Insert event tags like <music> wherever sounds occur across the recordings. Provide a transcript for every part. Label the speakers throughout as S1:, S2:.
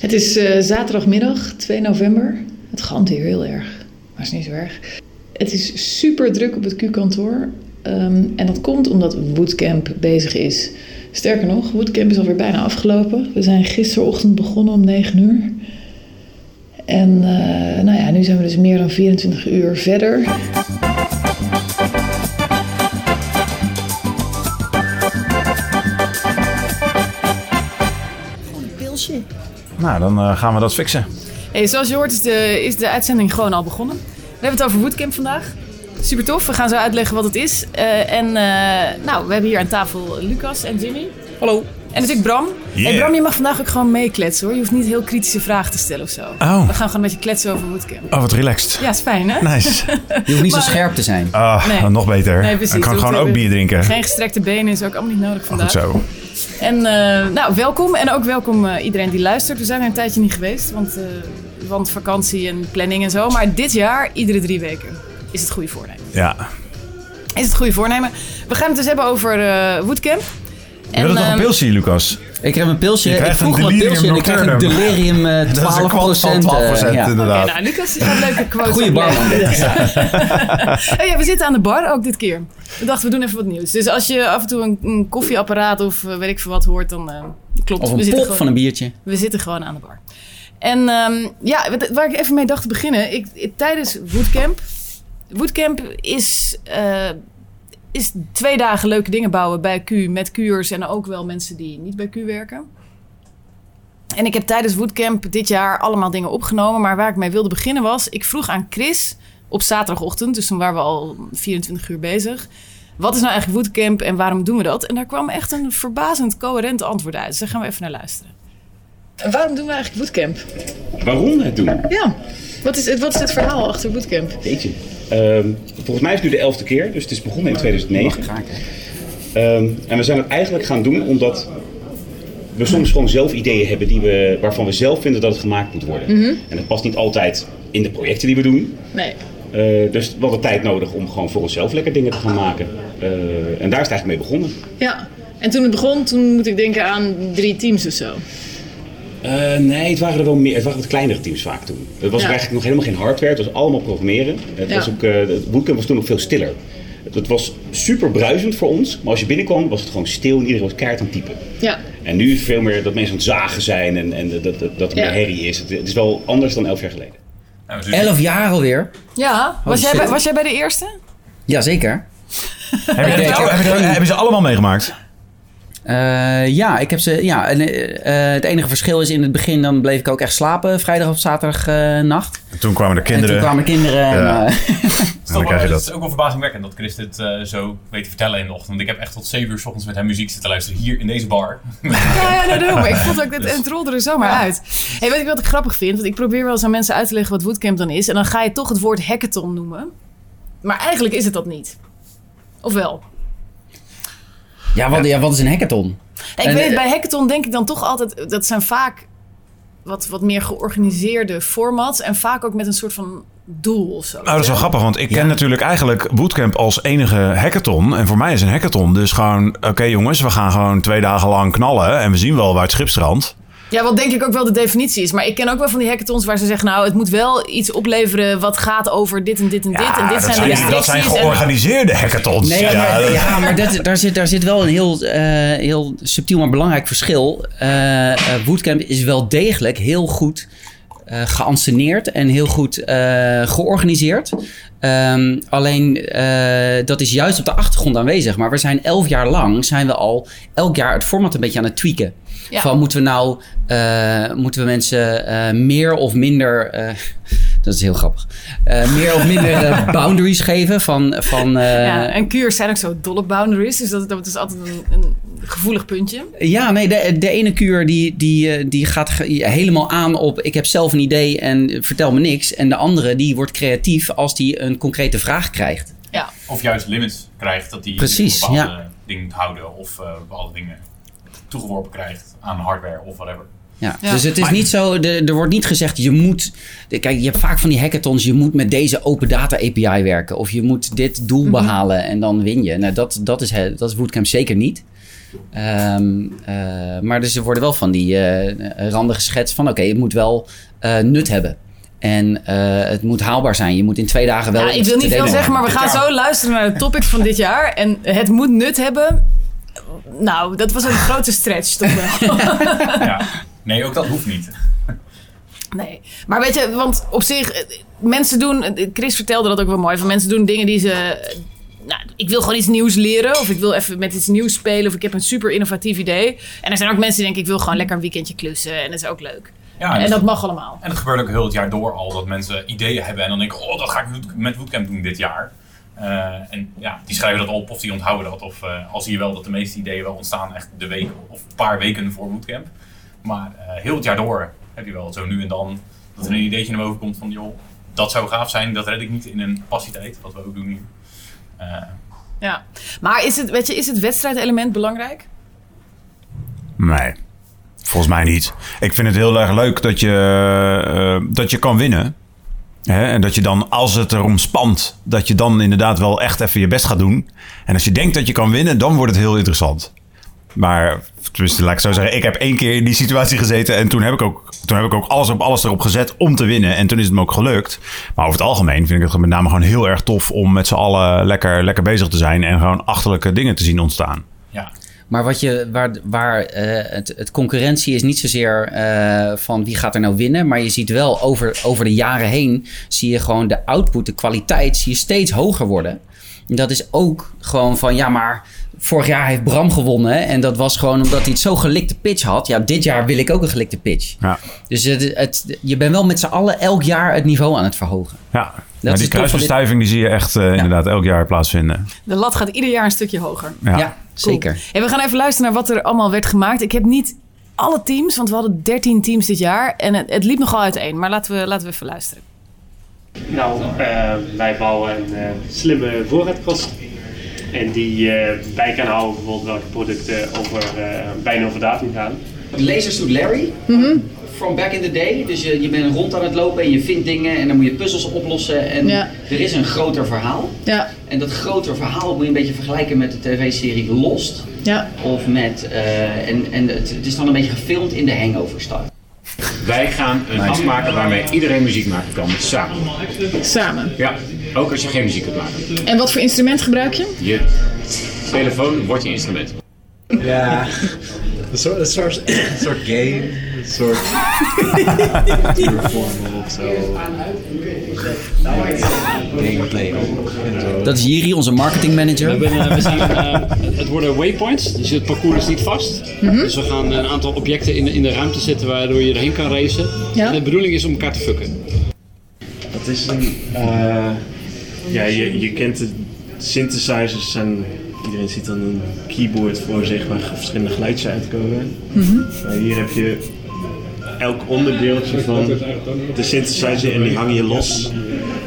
S1: Het is eh, zaterdagmiddag, 2 november. Het galmt hier heel erg, maar is niet zo erg. Het is super druk op het Q-kantoor. Ehm, en dat komt omdat Woodcamp bezig is. Sterker nog, Woodcamp is alweer bijna afgelopen. We zijn gisterochtend begonnen om 9 uur. En eh, nou ja, nu zijn we dus meer dan 24 uur verder.
S2: Pilsje.
S3: Nou, dan eh, gaan we dat fixen.
S4: Hey, zoals je hoort is de, is de uitzending gewoon al begonnen. We hebben het over Woodcamp vandaag. Super tof, we gaan zo uitleggen wat het is. Eh, en eh, nou, we hebben hier aan tafel Lucas en Jimmy. Hallo. En natuurlijk Bram.
S3: Yeah.
S4: Hey, Bram, je mag vandaag ook gewoon meekletsen hoor. Je hoeft niet heel kritische vragen te stellen of zo.
S3: Oh.
S4: We gaan gewoon een beetje kletsen over Woodcamp.
S3: Oh, wat relaxed.
S4: Ja, is fijn hè? <laughs>
S3: Nice.
S2: Je hoeft niet
S4: Maar-
S2: zo scherp te zijn.
S3: Ah,
S4: Nee.
S3: nog beter.
S4: Nee, precies,
S3: dan kan ik
S4: dat
S3: gewoon ook
S4: hebben-
S3: bier drinken.
S4: Geen gestrekte benen is ook allemaal niet nodig
S3: Goed
S4: vandaag.
S3: zo.
S4: En eh, nou, welkom. En ook welkom eh, iedereen die luistert. We zijn er een tijdje niet geweest, want, eh, want vakantie en planning en zo. Maar dit jaar, iedere drie weken, is het goede voornemen.
S3: Ja.
S4: Is het goede voornemen. We gaan het dus hebben over eh, Woodcamp.
S3: Je wilt nog een
S4: ehm,
S3: pilsje, Lucas?
S2: Ik heb een pilsje.
S3: Je
S2: Ik
S3: krijgt
S2: vroeg
S3: een
S2: om een pilsje en ik krijg een delirium eh, 12%.
S3: <laughs> Dat is een kwart van 12
S2: eh, ja.
S3: inderdaad.
S4: Oké, nou, Lucas die gaat leuke quotes
S2: Goeie
S4: opleggen.
S2: barman. dit.
S5: <laughs>
S4: <laughs> Oh ja, we zitten aan de bar ook dit keer. We dachten, we doen even wat nieuws. Dus als je af en toe een, een koffieapparaat of eh, weet ik veel wat hoort, dan eh, klopt.
S2: Of
S4: we
S2: een
S4: zitten
S2: plop
S4: gewoon-
S2: van een biertje.
S4: We zitten gewoon aan de bar. En ehm, ja, wat- waar ik even mee dacht te beginnen. Ik, ik- tijdens Woodcamp. Woodcamp is, eh, is twee dagen leuke dingen bouwen bij Q. Met Q'ers en ook wel mensen die niet bij Q werken. En ik heb tijdens Woodcamp dit jaar allemaal dingen opgenomen. Maar waar ik mee wilde beginnen was... Ik vroeg aan Chris op zaterdagochtend. Dus toen waren we al 24 uur bezig. Wat is nou eigenlijk Woodcamp en waarom doen we dat? En daar kwam echt een verbazend coherent antwoord uit. Dus daar gaan we even naar luisteren.
S1: En waarom doen we eigenlijk Woodcamp?
S6: waarom het doen.
S1: Ja, wat is het, wat is het verhaal achter Bootcamp?
S6: Weet je. Ehm, volgens mij is het nu de elfde keer, dus het is begonnen in 2009. Ehm, en we zijn het eigenlijk gaan doen omdat we soms gewoon zelf ideeën hebben die we, waarvan we zelf vinden dat het gemaakt moet worden. En dat past niet altijd in de projecten die we doen.
S1: Nee.
S6: Eh, dus we hadden tijd nodig om gewoon voor onszelf lekker dingen te gaan maken. Eh, en daar is het eigenlijk mee begonnen.
S1: Ja, en toen het begon, toen moet ik denken aan drie teams of zo.
S6: Eh, nee, het waren er wel meer. Het waren wat kleinere teams vaak toen. Het was
S1: Ja.
S6: er eigenlijk nog helemaal geen hardware. Het was allemaal programmeren. Het
S1: Ja.
S6: was ook, eh, het bootcamp was toen ook veel stiller. Het, het was super bruisend voor ons. Maar als je binnenkwam was het gewoon stil en iedereen was kaart aan het typen.
S1: Ja,
S6: En nu is het veel meer dat mensen aan het zagen zijn en, en dat, dat, dat er
S1: Ja.
S6: meer herrie is. Het, het is wel anders dan elf jaar geleden.
S2: Elf jaar alweer.
S4: Ja,
S6: Oh,
S4: was jij,
S2: shit.
S4: bij, was jij bij de eerste?
S2: Jazeker.
S3: Heb je-
S2: Ik denk-
S3: heb je- Hebben ze allemaal meegemaakt?
S2: Eh, ja, ik heb ze. Ja, en, eh, eh, het enige verschil is in het begin dan bleef ik ook echt slapen vrijdag of zaterdag eh, nacht.
S3: En toen kwamen de
S2: En toen
S3: kinderen.
S2: kwamen kinderen. En,
S3: Ja.
S2: eh, <laughs>
S3: En dan krijg je
S7: Dus Het
S3: dat.
S7: is ook wel verbazingwekkend dat Chris dit eh, zo weet te vertellen in de ochtend. Want ik heb echt tot 7 uur s ochtends met hem muziek zitten luisteren hier in deze bar.
S4: Nou
S7: Dus
S4: Ja, ja, daarom. Ik vond ook
S3: <laughs>
S4: dat het rolde er zomaar uit. Hey, weet ik wat ik grappig vind? Want ik probeer wel eens aan mensen uit te leggen wat Woodcamp dan is. En dan ga je toch het woord hackathon noemen. Maar eigenlijk is het dat niet. Of wel?
S2: ja, wat, ja, wat is een hackathon?
S4: Ik
S2: En,
S4: weet,
S2: eh,
S4: bij hackathon denk ik dan toch altijd... Dat zijn vaak wat, wat meer georganiseerde formats. En vaak ook met een soort van doel of zo.
S3: Oh, dat is wel grappig, want ik ken natuurlijk eigenlijk Bootcamp als enige hackathon. En voor mij is een hackathon dus gewoon... Oké jongens, we gaan gewoon twee dagen lang knallen en we zien wel waar het schip strandt.
S4: Ja, wat denk ik ook wel de definitie is. Maar ik ken ook wel van die hackathons waar ze zeggen... nou, het moet wel iets opleveren wat gaat over dit en dit en dit. En dit
S3: Ah, dat,
S4: zijn,
S3: zijn,
S4: de
S3: dat zijn
S4: restricties en-
S3: georganiseerde hackathons.
S2: Nee,
S3: ja,
S2: maar,
S4: Oh.
S3: dat-
S2: ja, maar dat, daar, zit, daar zit wel een heel, eh, heel subtiel maar belangrijk verschil. Eh, eh, Bootcamp is wel degelijk heel goed eh geanceneerd en heel goed eh, georganiseerd. Ehm, alleen eh, dat is juist op de achtergrond aanwezig. Maar we zijn elf jaar lang zijn we al elk jaar het format een beetje aan het tweaken.
S4: Ja.
S2: Van moeten we nou eh, moeten we mensen eh, meer of minder. eh, <laughs> dat is heel grappig. eh, meer of minder eh, boundaries geven van. van eh,
S4: Ja, en kuurs zijn ook zo dolle boundaries. Dus dat, dat is altijd een, een gevoelig puntje.
S2: Ja, nee, de, de ene kuur die, die, eh, die gaat ge- helemaal aan op ik heb zelf een idee en vertel me niks. En de andere die wordt creatief als die een concrete vraag krijgt.
S7: Of juist limits krijgt dat hij
S2: Precies,
S7: een bepaalde ding moet houden. Of eh, bepaalde dingen toegeworpen krijgt aan hardware of whatever.
S2: Ja.
S4: Ja.
S2: Dus het is niet zo, de- er wordt niet gezegd je moet, de- kijk je hebt vaak van die hackathons, je moet met deze open data API
S4: Mhm.
S2: werken. Of je moet dit doel behalen en dan win je. Nou, dat, dat, is, he- dat is Bootcamp zeker niet. Ehm, eh, maar dus er worden wel van die eh, randen geschetst van... oké, het moet wel eh, nut hebben. En eh, het moet haalbaar zijn. Je moet in twee dagen wel...
S4: Ja, ik
S2: iets
S4: wil
S2: te
S4: niet veel
S2: delen
S4: zeggen,
S2: hebben.
S4: maar we gaan zo luisteren naar de topics van dit jaar. En het moet nut hebben. Nou, dat was een grote stretch toch
S2: <laughs>
S4: wel.
S7: Ja. Nee, ook dat hoeft niet.
S4: Nee. Maar weet je, want op zich, eh, mensen doen. eh, Chris vertelde dat ook wel mooi. Van mensen doen dingen die ze. eh, Nou, ik wil gewoon iets nieuws leren. Of ik wil even met iets nieuws spelen. Of ik heb een super innovatief idee. En er zijn ook mensen die denken: ik wil gewoon lekker een weekendje klussen. En dat is ook leuk.
S7: Ja,
S4: en
S7: dus-
S4: dat mag allemaal.
S7: En dat gebeurt ook heel het jaar door al, dat mensen ideeën hebben en dan denken, oh, dat ga ik wood- met Bootcamp doen dit jaar. Eh, en ja, die schrijven dat op of die onthouden dat. Of eh, al zie je wel dat de meeste ideeën wel ontstaan echt de week of een paar weken voor Bootcamp. Maar eh, heel het jaar door heb je wel zo nu en dan dat er een ideetje naar boven komt van, joh, dat zou gaaf zijn, dat red ik niet in een passietijd, wat we ook doen hier. Eh,
S4: Ja. Maar is het, weet je, is het wedstrijdelement belangrijk?
S3: Nee, volgens mij niet. Ik vind het heel erg leuk dat je, eh, dat je kan winnen. Hè? En dat je dan, als het erom spant, dat je dan inderdaad wel echt even je best gaat doen. En als je denkt dat je kan winnen, dan wordt het heel interessant. Maar, tenminste, laat ik zo zeggen, ik heb één keer in die situatie gezeten. En toen heb ik ook, toen heb ik ook alles op alles erop gezet om te winnen. En toen is het me ook gelukt. Maar over het algemeen vind ik het met name gewoon heel erg tof om met z'n allen lekker, lekker bezig te zijn. En gewoon achterlijke dingen te zien ontstaan.
S7: ja,
S2: Maar wat je, waar, waar eh, het, het concurrentie is niet zozeer eh, van wie gaat er nou winnen. Maar je ziet wel over, over de jaren heen zie je gewoon de output, de kwaliteit zie je steeds hoger worden. En dat is ook gewoon van ja, maar vorig jaar heeft Bram gewonnen. En dat was gewoon omdat hij het zo gelikte pitch had. Ja, dit jaar wil ik ook een gelikte pitch.
S3: Ja,
S2: Dus het, het, je bent wel met z'n allen elk jaar het niveau aan het verhogen.
S3: Ja,
S2: is het tof
S3: maar die
S2: van dit-
S3: kruisbestuiving die zie je echt eh, inderdaad elk jaar plaatsvinden.
S4: De lat gaat ieder jaar een stukje hoger.
S3: Ja.
S2: ja
S4: Cool.
S2: zeker.
S4: Hey, we gaan even luisteren naar wat er allemaal werd gemaakt. Ik heb niet alle teams, want we hadden 13 teams dit jaar. En het, het liep nogal uiteen. Maar laten we, laten we even luisteren.
S8: Nou, eh, wij bouwen een eh, slimme voorraadkast. En die eh, bij kan houden bijvoorbeeld welke producten over, eh, bijna over datum gaan.
S9: Lasersuit Larry.
S1: Mhm,
S9: From back in the day. Dus je, je bent rond aan het lopen en je vindt dingen en dan moet je puzzels oplossen. En
S1: Ja.
S9: er is een groter verhaal.
S1: Ja,
S9: En dat groter verhaal moet je een beetje vergelijken met de tv-serie Lost.
S1: ja.
S9: Of met, eh, en, en het, het is dan een beetje gefilmd in de hangover-stijl.
S10: Wij gaan een afmaken maken waarmee iedereen muziek maken kan, samen.
S1: Samen.
S10: Ja, ook als je geen muziek kunt maken.
S1: En wat voor instrument gebruik je?
S10: Je telefoon wordt je instrument.
S11: Ja, een soort, een soort, een soort game, een soort duurvormel of zo. Gameplay ook. en zo.
S2: Dat is Jiri, onze marketingmanager.
S8: We, hebben, eh, we zijn, eh, het worden waypoints, dus het parcours is niet vast.
S1: Mhm.
S8: Dus we gaan een aantal objecten in, de- in de ruimte zetten waardoor je erheen kan racen.
S1: Ja.
S8: En de bedoeling is om elkaar te fucken.
S12: <laughs> Het is een. eh, ja, je, je kent de synthesizers en iedereen ziet dan een keyboard voor zich waar verschillende geluidjes uitkomen. Maar hier heb je elk onderdeeltje van de synthesizer en die hang je los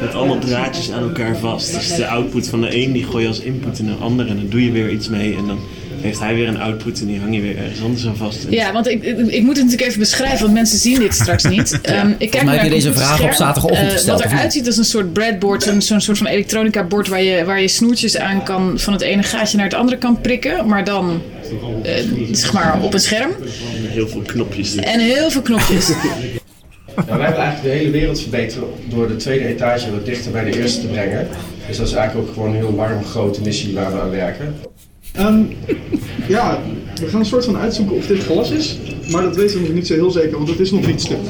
S12: met allemaal draadjes aan elkaar vast. Dus de output van de een die gooi je als input in de ander en dan doe je weer iets mee en dan heeft hij weer een output en die hang je weer ergens anders aan vast. En
S1: Ja, want ik, ik, ik moet het natuurlijk even beschrijven, want mensen zien dit straks
S2: <laughs>
S1: niet. Ehm ik kijk
S2: mij
S1: naar
S2: heb je
S1: een
S2: deze vraag
S1: computerscherm,
S2: op zaterdagochtend
S1: eh,
S2: gesteld,
S1: Wat
S2: of niet?
S1: eruit ziet als een soort breadboard, zo'n zo'n soort van elektronica bord waar je, waar je snoertjes aan kan van het ene gaatje naar het andere kan prikken, maar dan eh, zeg maar op een scherm.
S12: heel veel knopjes. Dus.
S1: En heel veel
S2: <laughs>
S1: knopjes.
S11: Nou, wij hebben eigenlijk de hele wereld verbeterd door de tweede etage wat dichter bij de eerste te brengen. Dus dat is eigenlijk ook gewoon een heel warm grote missie waar we aan werken. Ehm, ja, we gaan een soort van uitzoeken of dit glas is, maar dat weten we nog niet zo heel zeker, want het is nog niet slim.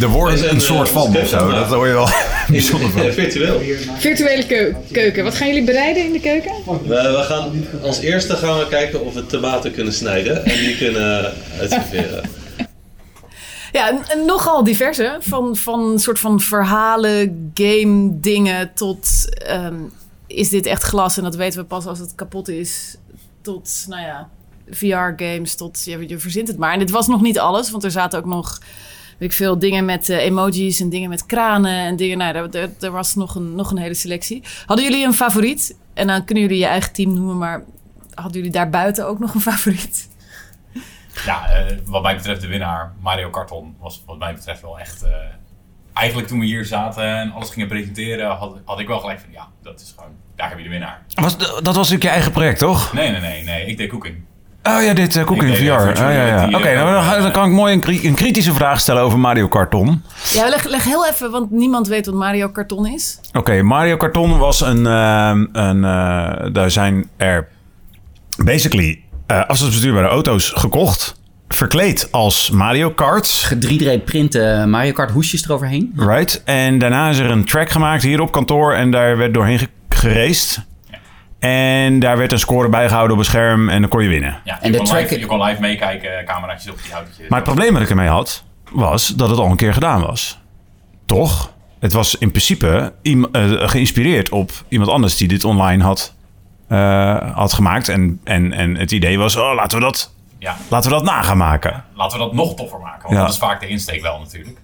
S3: Er wordt een,
S6: eh,
S3: soort van of zo, dat hoor je <laughs> wel bijzonder van.
S11: Virtueel.
S1: Virtuele keu- keuken. Wat gaan jullie bereiden in de keuken?
S11: We, we gaan, als eerste gaan we kijken of we tomaten kunnen snijden en die kunnen
S13: eh,
S11: uitserveren.
S4: Ja, en- en nogal diverse. Van, van soort van verhalen, game dingen tot... ehm, is dit echt glas en dat weten we pas als het kapot is. Tot, nou ja, VR-games, tot je, je verzint het maar. En dit was nog niet alles, want er zaten ook nog... Weet ik veel, dingen met eh, emojis en dingen met kranen en dingen. Nou, daar- daar- daar was nog een, nog een hele selectie. Hadden jullie een favoriet? En dan kunnen jullie je eigen team noemen, maar hadden jullie daarbuiten ook nog een favoriet?
S7: Ja, eh, wat mij betreft de winnaar, Mario Karton, was wat mij betreft wel echt... eh, eigenlijk toen we hier zaten en alles gingen presenteren, had, had ik wel gelijk van... Ja, dat is gewoon... Daar heb je de winnaar.
S3: Was, dat was natuurlijk je eigen project, toch?
S7: Nee, nee, nee, nee. Ik deed cooking.
S3: Oh ja, dit eh Cook in VR.
S6: deed dat
S3: Ah,
S6: voor
S3: ja, ja.
S6: die,
S3: Oké,
S6: eh,
S3: nou, dan, ga- dan kan ik mooi een, kri- een kritische vraag stellen over Mario Karton.
S4: Ja, leg, leg heel even, want niemand weet wat Mario Karton is.
S3: Oké, Mario Karton was een... ehm, een eh, daar zijn er basically eh afstandsbestuurbare auto's gekocht. Verkleed als Mario Kart.
S2: 3D printen eh, Mario Kart hoesjes eroverheen.
S3: Right. En daarna is er een track gemaakt hier op kantoor. En daar werd doorheen ge- geraced. En daar werd een score bijgehouden op een scherm. En dan kon je winnen.
S7: Ja, en je, kon live, je kon live meekijken, cameraatjes op die autootje.
S3: Maar het probleem dat ik ermee had, was dat het al een keer gedaan was. Toch? Het was in principe iem- eh, geïnspireerd op iemand anders die dit online had, eh, had gemaakt. En, en, en het idee was, oh, laten we dat,
S7: Ja.
S3: laten we dat na gaan maken.
S7: Laten we dat nog toffer maken, want
S3: Ja.
S7: dat is vaak de insteek wel natuurlijk.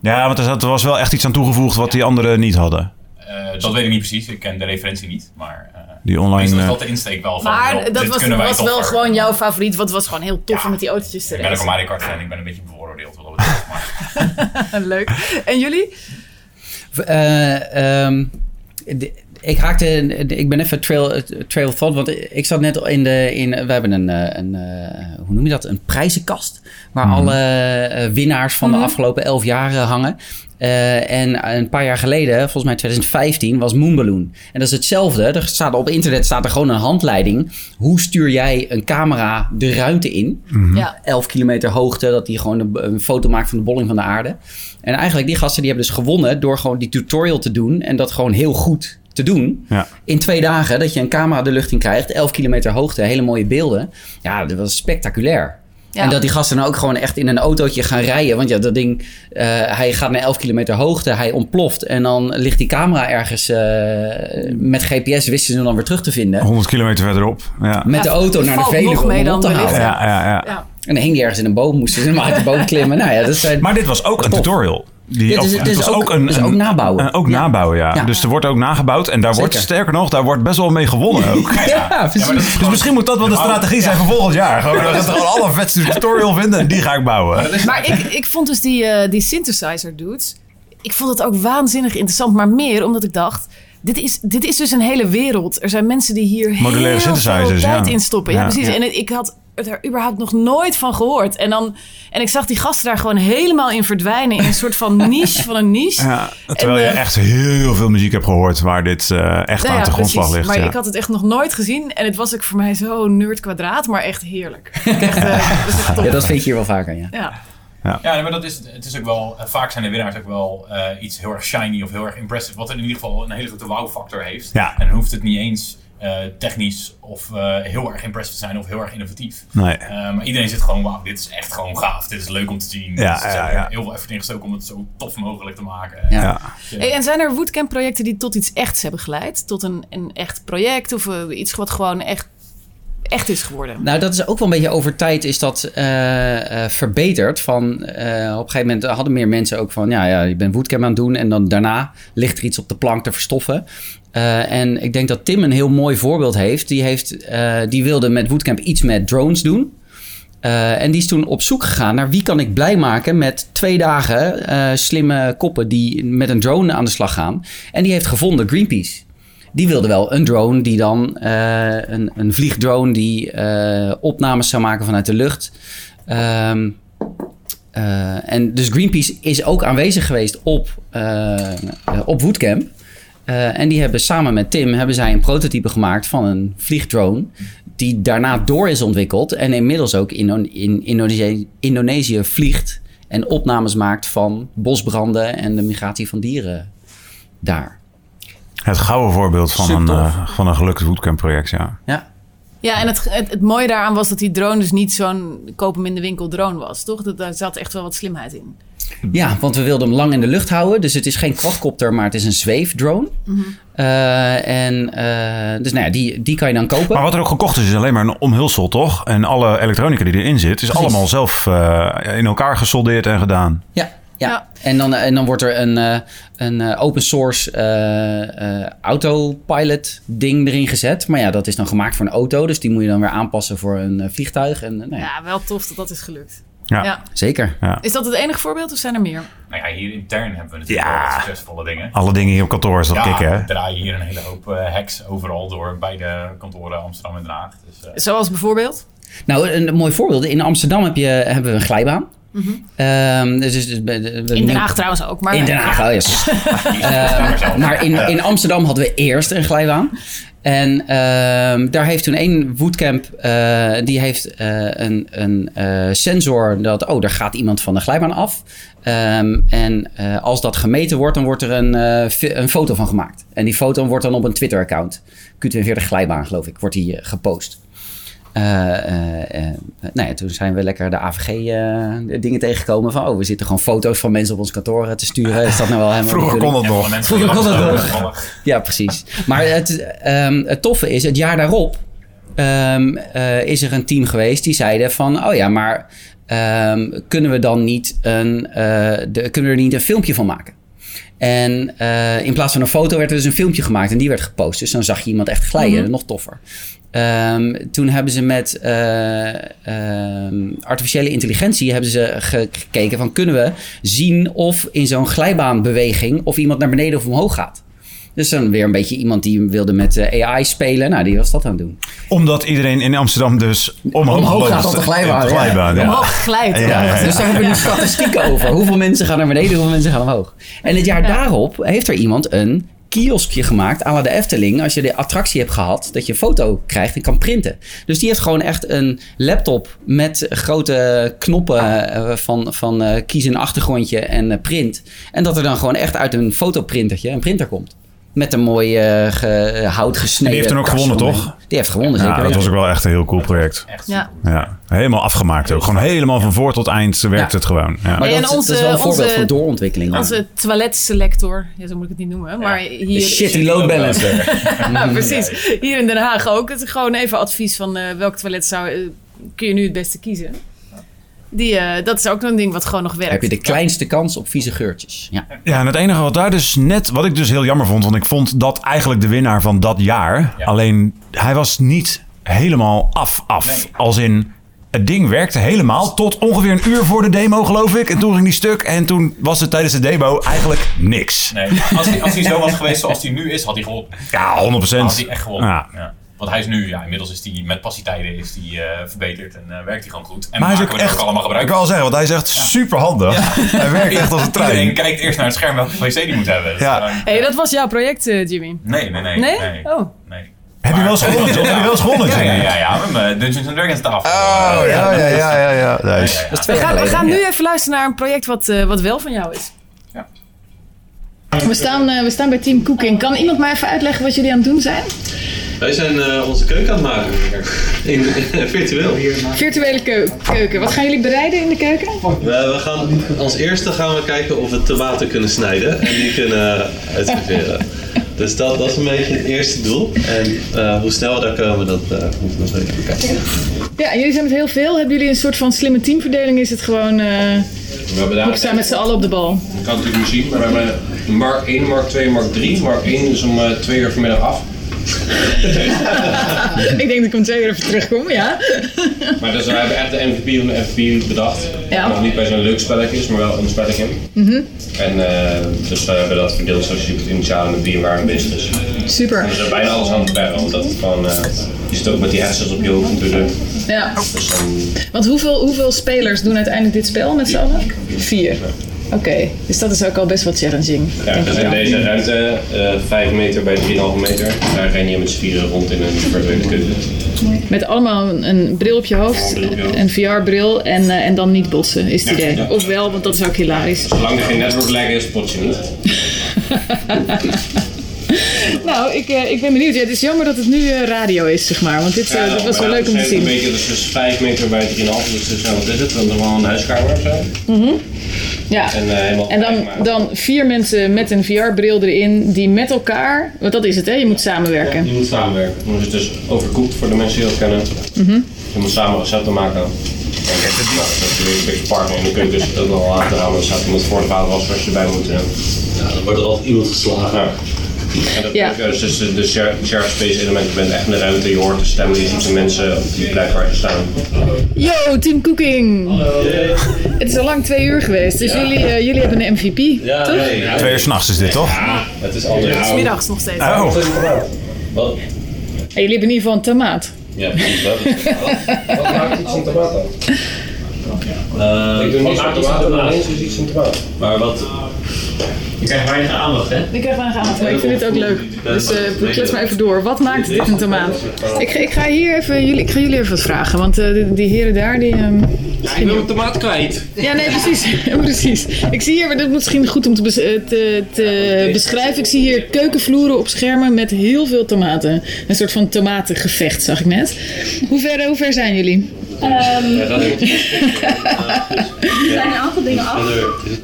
S3: Ja, want er zat- er was wel echt iets aan toegevoegd wat die anderen niet hadden.
S7: Eh, dat weet ik niet precies, ik ken de referentie niet, maar eh
S3: Die online...
S7: meestal is
S3: eh,
S7: dat de insteek wel van,
S4: maar
S7: joh,
S4: dat
S7: dit
S4: was,
S7: kunnen wij
S4: was wel
S7: toffer.
S4: gewoon jouw favoriet, want het was gewoon heel tof om met die autootjes te
S7: Ik ben ook een
S4: racen.
S7: Mario Kart fan, ik ben een beetje bevooroordeeld. wat dat betreft.
S4: <laughs> Leuk. En jullie?
S2: Eh, ehm, de- ik haakte, de- ik ben even trail, eh, trail of thought, want ik zat net al in de, in, we hebben een, eh, een eh, hoe noem je dat, een prijzenkast, waar
S14: Mhm.
S2: alle eh, winnaars van
S4: Mhm.
S2: de afgelopen elf jaar eh, hangen. Eh, en een paar jaar geleden, volgens mij 2015, was Moonballoon. En dat is hetzelfde. Er staat, op internet staat er gewoon een handleiding. Hoe stuur jij een camera de ruimte in?
S14: Mhm.
S4: Ja.
S2: 11 Hm. kilometer hoogte, dat hij gewoon een, een foto maakt van de bolling van de aarde. En eigenlijk, die gasten die hebben dus gewonnen door gewoon die tutorial te doen en dat gewoon heel goed te doen.
S3: Ja.
S2: In twee dagen dat je een camera de lucht in krijgt, 11 kilometer hoogte, hele mooie beelden. Ja, dat was spectaculair.
S14: Ja.
S2: En dat die gasten dan ook gewoon echt in een autootje gaan rijden. Want ja, dat ding, eh, hij gaat naar 11 kilometer hoogte, hij ontploft. En dan ligt die camera ergens, eh, met GPS wisten ze hem dan weer terug te vinden.
S3: 100 kilometer verderop. Ja.
S2: Met de auto naar de Veluwe om hem op te halen.
S3: Ja, ja, ja.
S2: En dan hing die ergens in een boom, moesten <laughs> ze hem uit de boom klimmen. Nou ja, dat zijn
S3: Maar dit was ook een tutorial. Die,
S2: Dit is-
S3: of-
S2: dit is
S3: was
S2: ook- dus ook nabouwen.
S3: een- ook nabouwen, ja.
S2: Ja.
S3: Dus er wordt ook nagebouwd. En daar wordt,
S2: Zeker.
S3: sterker nog, daar wordt best wel mee
S2: <laughs>
S3: gewonnen ook.
S2: Ja, precies.
S3: dus misschien moet dat wel de strategie zijn voor volgend jaar. Gewoon, we gaan toch alle vetste tutorial vinden en die ga ik bouwen.
S4: Maar ik, ik vond dus die, eh, die synthesizer dudes, ik vond het ook waanzinnig interessant. Maar meer omdat ik dacht, dit is, dit is dus een hele wereld. Er zijn mensen die hier
S3: Modulaire
S4: heel veel
S3: synthesizers,
S4: tijd
S3: ja.
S4: in stoppen. Ja,
S3: Ja.
S4: precies.
S3: Ja.
S4: En het- ik had het er überhaupt nog nooit van gehoord. En, dan, en ik zag die gasten daar gewoon helemaal in verdwijnen. In een soort
S3: <laughs>
S4: van niche van een niche.
S3: Ja, terwijl
S4: En,
S3: je
S4: eh,
S3: echt heel veel muziek hebt gehoord waar dit eh, echt
S4: Nou
S3: aan
S4: ja,
S3: de grondslag
S4: precies.
S3: ligt.
S4: Maar
S3: ja.
S4: ik had het echt nog nooit gezien. En het was ook voor mij zo nerd kwadraat, maar echt heerlijk. Echt, eh, dat is echt top.
S2: Ja, dat vind je hier wel vaker, ja.
S4: Ja.
S3: Ja,
S7: nee, maar dat is, het is ook wel, eh, vaak zijn de winnaars ook wel eh, iets heel erg shiny of heel erg impressive, wat in ieder geval een hele grote wow-factor heeft.
S3: Ja.
S7: En dan hoeft het niet eens eh, technisch of eh, heel erg impressive te zijn of heel erg innovatief.
S3: Nee.
S7: Eh, maar iedereen zit gewoon, wauw, dit is echt gewoon gaaf, dit is leuk om te zien.
S3: Ja,
S7: Dus er
S3: ja,
S7: zijn
S3: ja.
S7: Heel veel effort ingestoken om het zo tof mogelijk te maken.
S3: Ja. Ja.
S7: Dus, eh,
S4: Hey, en zijn er Woodcamp-projecten die tot iets echts hebben geleid? Tot een, een echt project of eh, iets wat gewoon echt, echt is geworden?
S2: Nou, dat is ook wel een beetje over tijd is dat eh, eh, verbeterd. Van, eh, op een gegeven moment hadden meer mensen ook van... Ja, ja, je bent bootcamp aan het doen en dan daarna ligt er iets op de plank te verstoffen. Eh, en ik denk dat Tim een heel mooi voorbeeld heeft. Die, heeft, eh, die wilde met bootcamp iets met drones doen. Eh, en die is toen op zoek gegaan naar wie kan ik blij maken met twee dagen eh, slimme koppen die met een drone aan de slag gaan. En die heeft gevonden Greenpeace. Die wilde wel een drone die dan eh, een, een vliegdrone die eh, opnames zou maken vanuit de lucht. Ehm, eh, en dus Greenpeace is ook aanwezig geweest op, eh eh, op Woodcamp. Eh, en die hebben samen met Tim hebben zij een prototype gemaakt van een vliegdrone. Die daarna door is ontwikkeld en inmiddels ook in, in Indonesië, Indonesië vliegt. En opnames maakt van bosbranden en de migratie van dieren daar.
S3: Het gouden voorbeeld van een,
S2: Supertof.
S3: eh, van een gelukkig bootcamp project, ja.
S4: Ja, en het, het, het mooie daaraan was dat die drone dus niet zo'n koop hem in de winkel drone was, toch? Dat, daar zat echt wel wat slimheid in.
S2: Ja, want we wilden hem lang in de lucht houden. Dus het is geen quadcopter, maar het is een zweefdrone. Eh, en eh, dus nou ja, die, die kan je dan kopen.
S4: Oh.
S3: Maar wat er ook gekocht is, is alleen maar een omhulsel, toch? En alle elektronica die erin zit, is
S2: Precies.
S3: allemaal zelf eh, in elkaar gesoldeerd en gedaan.
S2: Ja, ja. En, dan, en dan wordt er een, eh, een eh, open source eh, eh, autopilot ding erin gezet. Maar ja, dat is dan gemaakt voor een auto. Dus die moet je dan weer aanpassen voor een eh, vliegtuig. En, eh, nou ja.
S4: Ja, wel tof dat dat is gelukt. Ja.
S2: Zeker.
S4: Is dat het enige voorbeeld of zijn er meer?
S7: nou ja, hier intern hebben we natuurlijk
S3: Ja.
S7: wel wat succesvolle dingen.
S3: Alle dingen hier op kantoor is dat
S7: ja,
S3: kicken, hè?
S7: we draaien hier een hele hoop eh, hacks overal door bij de kantoren Amsterdam en Den Haag. Dus, eh,
S4: Zoals bijvoorbeeld?
S2: Nou, een, een mooi voorbeeld. In Amsterdam heb je, hebben we een glijbaan. Ehm, dus, is- dus, bij de- we-
S4: In Den
S2: nu-
S4: Haag trouwens ook. Maar
S2: in Den Haag, oh,
S4: <laughs>
S2: yes. Ehm, maar in, in Amsterdam hadden we eerst een glijbaan. En ehm, daar heeft toen één woodcamp, eh, die heeft eh, een, een eh, sensor dat, oh, daar gaat iemand van de glijbaan af. Ehm, en eh, als dat gemeten wordt, dan wordt er een, eh, fi- een foto van gemaakt. En die foto wordt dan op een Twitter-account, Q42 glijbaan geloof ik, wordt die eh, gepost. Eh, eh, eh, nou ja, toen zijn we lekker de AVG-dingen eh, tegengekomen. Van, oh, we zitten gewoon foto's van mensen op ons kantoor eh, te sturen. Is dat nou wel helemaal de
S3: Vroeger kon dat
S2: bedoeling?
S3: nog.
S2: Vroeger kon dat nog. Ja, precies. Maar het, ehm, het toffe is, het jaar daarop ehm, eh, is er een team geweest die zeiden van... Oh ja, maar ehm, kunnen, we dan niet een, eh, de, kunnen we er niet een filmpje van maken? En eh, in plaats van een foto werd er dus een filmpje gemaakt en die werd gepost. Dus dan zag je iemand echt glijden,
S14: Mhm.
S2: nog toffer. Ehm, toen hebben ze met eh, ehm, artificiële intelligentie hebben ze ge- gekeken van kunnen we zien of in zo'n glijbaanbeweging of iemand naar beneden of omhoog gaat. Dus dan weer een beetje iemand die wilde met eh, AI spelen. Nou, die was dat aan het doen.
S3: Omdat iedereen in Amsterdam dus omhoog,
S2: Omhoog gaat
S3: loopt.
S2: op de glijbaan,
S3: Op de
S2: ja.
S3: glijbaan, ja.
S2: Omhoog
S4: glijdt.
S3: Ja, ja, ja.
S2: Dus daar hebben we nu statistieken over. Hoeveel mensen gaan naar beneden, hoeveel mensen gaan omhoog. En het jaar daarop heeft er iemand een kioskje gemaakt, à la de Efteling. Als je de attractie hebt gehad, dat je een foto krijgt en kan printen. Dus die heeft gewoon echt een laptop met grote knoppen eh, van, van eh, kies een achtergrondje en eh, print. En dat er dan gewoon echt uit een fotoprintertje een printer komt. Met een mooi eh, ge- hout gesneden.
S3: Die heeft dan ook
S2: kast
S3: gewonnen,
S2: omheen.
S3: toch?
S2: Die heeft gewonnen, zeker.
S3: Ja, dat
S2: weten.
S3: was ook wel echt een heel cool project.
S4: Ja.
S3: Ja, helemaal afgemaakt ook. Gewoon helemaal van voor tot eind werkt
S2: Ja.
S3: het gewoon. Ja.
S4: Maar Nee, dat- en onze- dat is wel een onze- voorbeeld van
S2: doorontwikkeling.
S4: Onze toiletselector, ja, zo moet ik het niet noemen, maar hier...
S2: Shitty load balancer.
S4: <laughs> Ja, precies. Hier in Den Haag ook. Het is gewoon even advies van eh, welk toilet zou, eh, kun je nu het beste kiezen. Die, eh, dat is ook een ding wat gewoon nog werkt.
S2: heb je de kleinste kans op vieze geurtjes. Ja.
S3: Ja, en het enige wat daar dus net, wat ik dus heel jammer vond, want ik vond dat eigenlijk de winnaar van dat jaar. Alleen hij was niet helemaal af, af. Als in het ding werkte helemaal tot ongeveer een uur voor de demo, geloof ik. En toen ging die stuk en toen was het tijdens de demo eigenlijk niks.
S7: Nee, als hij, als hij zo was geweest zoals hij nu is, had hij gewonnen.
S3: Ja, 100%.
S7: Had hij echt gewonnen.
S3: Ja.
S7: Ja. Want hij is nu, ja, inmiddels is hij met passietijden is die, eh, verbeterd en eh, werkt hij gewoon goed. En
S3: maar hij is
S7: maken
S3: ook
S7: we er
S3: echt,
S7: allemaal gebruik
S3: ik wil zeggen, want hij is echt super handig. Hij werkt echt als een trein.
S7: Iedereen kijkt eerst naar het scherm welke wc die moet hebben. Ja.
S4: hey, dat was jouw project, eh, Jimmy.
S7: nee, nee, nee.
S4: Nee? Oh.
S3: Heb je wel eens gewonnen, John? Heb je wel eens gewonnen,
S7: Ja, ja,
S3: Jimmy?
S7: ja, ja. We hebben Dungeons and Dragons tafel.
S3: Oh, ja, ja, ja, ja. ja.
S7: Ja,
S3: Nice.
S7: ja, ja.
S4: We gaan, we gaan nu even luisteren naar een project wat, eh, wat wel van jou is.
S15: We staan, eh, we staan bij Team Cooking. Kan iemand mij even uitleggen wat jullie aan het doen zijn?
S13: Wij zijn eh, onze keuken aan het maken. In, eh, virtueel.
S15: Virtuele keu- keuken. Wat gaan jullie bereiden in de keuken?
S13: We, we gaan, als eerste gaan we kijken of we tomaten kunnen snijden en die kunnen uitserveren. Dus dat, dat is een beetje het eerste doel. En eh, hoe snel we daar komen, dat eh, moeten we nog even bekijken.
S15: Ja, en jullie zijn met heel veel. Hebben jullie een soort van slimme teamverdeling? Is het gewoon... eh
S5: We hebben daar-
S15: we staan met z'n allen op de
S5: <laughs>
S15: bal.
S5: Dat kan natuurlijk niet zien, maar we hebben Mark 1, Mark 2, Mark 3. Mark 1 is om eh, 2 uur vanmiddag af.
S15: ik denk dat ik om twee uur even terugkom, ja.
S5: Maar dus we hebben echt de MVP van de MVP bedacht.
S15: Ja.
S5: Nog niet bij zo'n leuk spelletje is, maar wel een spelletje.
S15: Mhm.
S5: En eh, dus we hebben dat verdeeld zoals je het initiaal met wie en waar mee bezig is.
S15: Super.
S5: We zijn bijna alles aan het verbergen, omdat het gewoon, eh, je zit ook met die hersens op je hoofd natuurlijk.
S15: Ja.
S5: Dus dan
S15: Want hoeveel, hoeveel spelers doen uiteindelijk dit spel met z'n allen? Vier. Oké, dus dat is ook al best wel challenging.
S5: Ja, dus in deze ruimte, eh 5 meter bij 3,5 meter, daar ren je met z'n vieren rond in een virtuele keuken.
S15: Met allemaal een, een bril op je hoofd, een VR-bril en, eh, en dan niet botsen, is het
S5: Ja,
S15: idee.
S5: ja.
S15: Of wel, want dat is ook hilarisch.
S5: Zolang er geen network lag is, pot je niet.
S15: Nou, ik, eh, ik ben benieuwd. Ja, het is jammer dat het nu eh, radio is, zeg maar. Want dit, eh,
S5: Ja,
S15: dit was
S5: maar
S15: wel
S5: ja,
S15: leuk om te
S5: het is
S15: zien.
S5: Een beetje, dus, dus 5 meter bij 3,5, dus, dus nou, wat is het? Dan normaal een huiskamer of zo.
S15: Mhm. Ja.
S5: En, eh, helemaal
S15: En dan, dan vier mensen met een VR-bril erin die met elkaar... Want dat is het, hè? Je moet samenwerken.
S5: Je moet samenwerken. Dan is het dus overkoekt voor de mensen die dat kennen.
S15: Mhm.
S5: Je moet samen recepten maken. En nou, dat is weer een beetje partner in de keuken, dus dat wel aan te houden. Dan staat iemand voor de vader was als je erbij moet. Ja, dan wordt er altijd iemand geslagen. En dat
S15: Ja.
S5: ja. dus, dus de de share- shared space element, je bent echt in de ruimte, je hoort de stemmen, je ziet de mensen op die plek waar ze staan.
S15: Yo, Team Cooking! Het is al lang twee uur geweest, dus
S5: Ja.
S15: jullie, eh, jullie hebben een MVP, toch?
S3: Twee uur s'nachts is dit, toch? Ja,
S5: het is anders.
S15: Het is middags nog steeds.
S3: Oh.
S15: En jullie hebben in ieder geval een tomaat.
S7: Ja, precies dat.
S10: Wat maakt iets een tomato? Eh,
S7: Ik doe niks met tomaten, maar
S10: tomaat?
S7: ineens is iets een tomaat.
S13: Maar wat...
S10: Je krijgt weinig aandacht, hè?
S15: Ik krijg weinig aandacht, maar ik vind dit ook leuk. Dus eh klets maar even door. Wat maakt dit een tomaat?
S4: Ik, ga- ik ga hier even, jullie, ik ga jullie even wat vragen, want eh, die, die heren daar, die... ehm,
S10: ik wil mijn tomaat kwijt.
S4: Ja, nee, precies. <laughs> precies. Ik zie hier, maar dat is misschien goed om te, bes- eh, te, te beschrijven. Ik zie hier keukenvloeren op schermen met heel veel tomaten. Een soort van tomatengevecht, zag ik net. Hoe ver, eh, hoe ver zijn jullie?
S2: Ehm,
S13: dat
S2: <laughs>
S13: is-
S2: er zijn een aantal dingen af.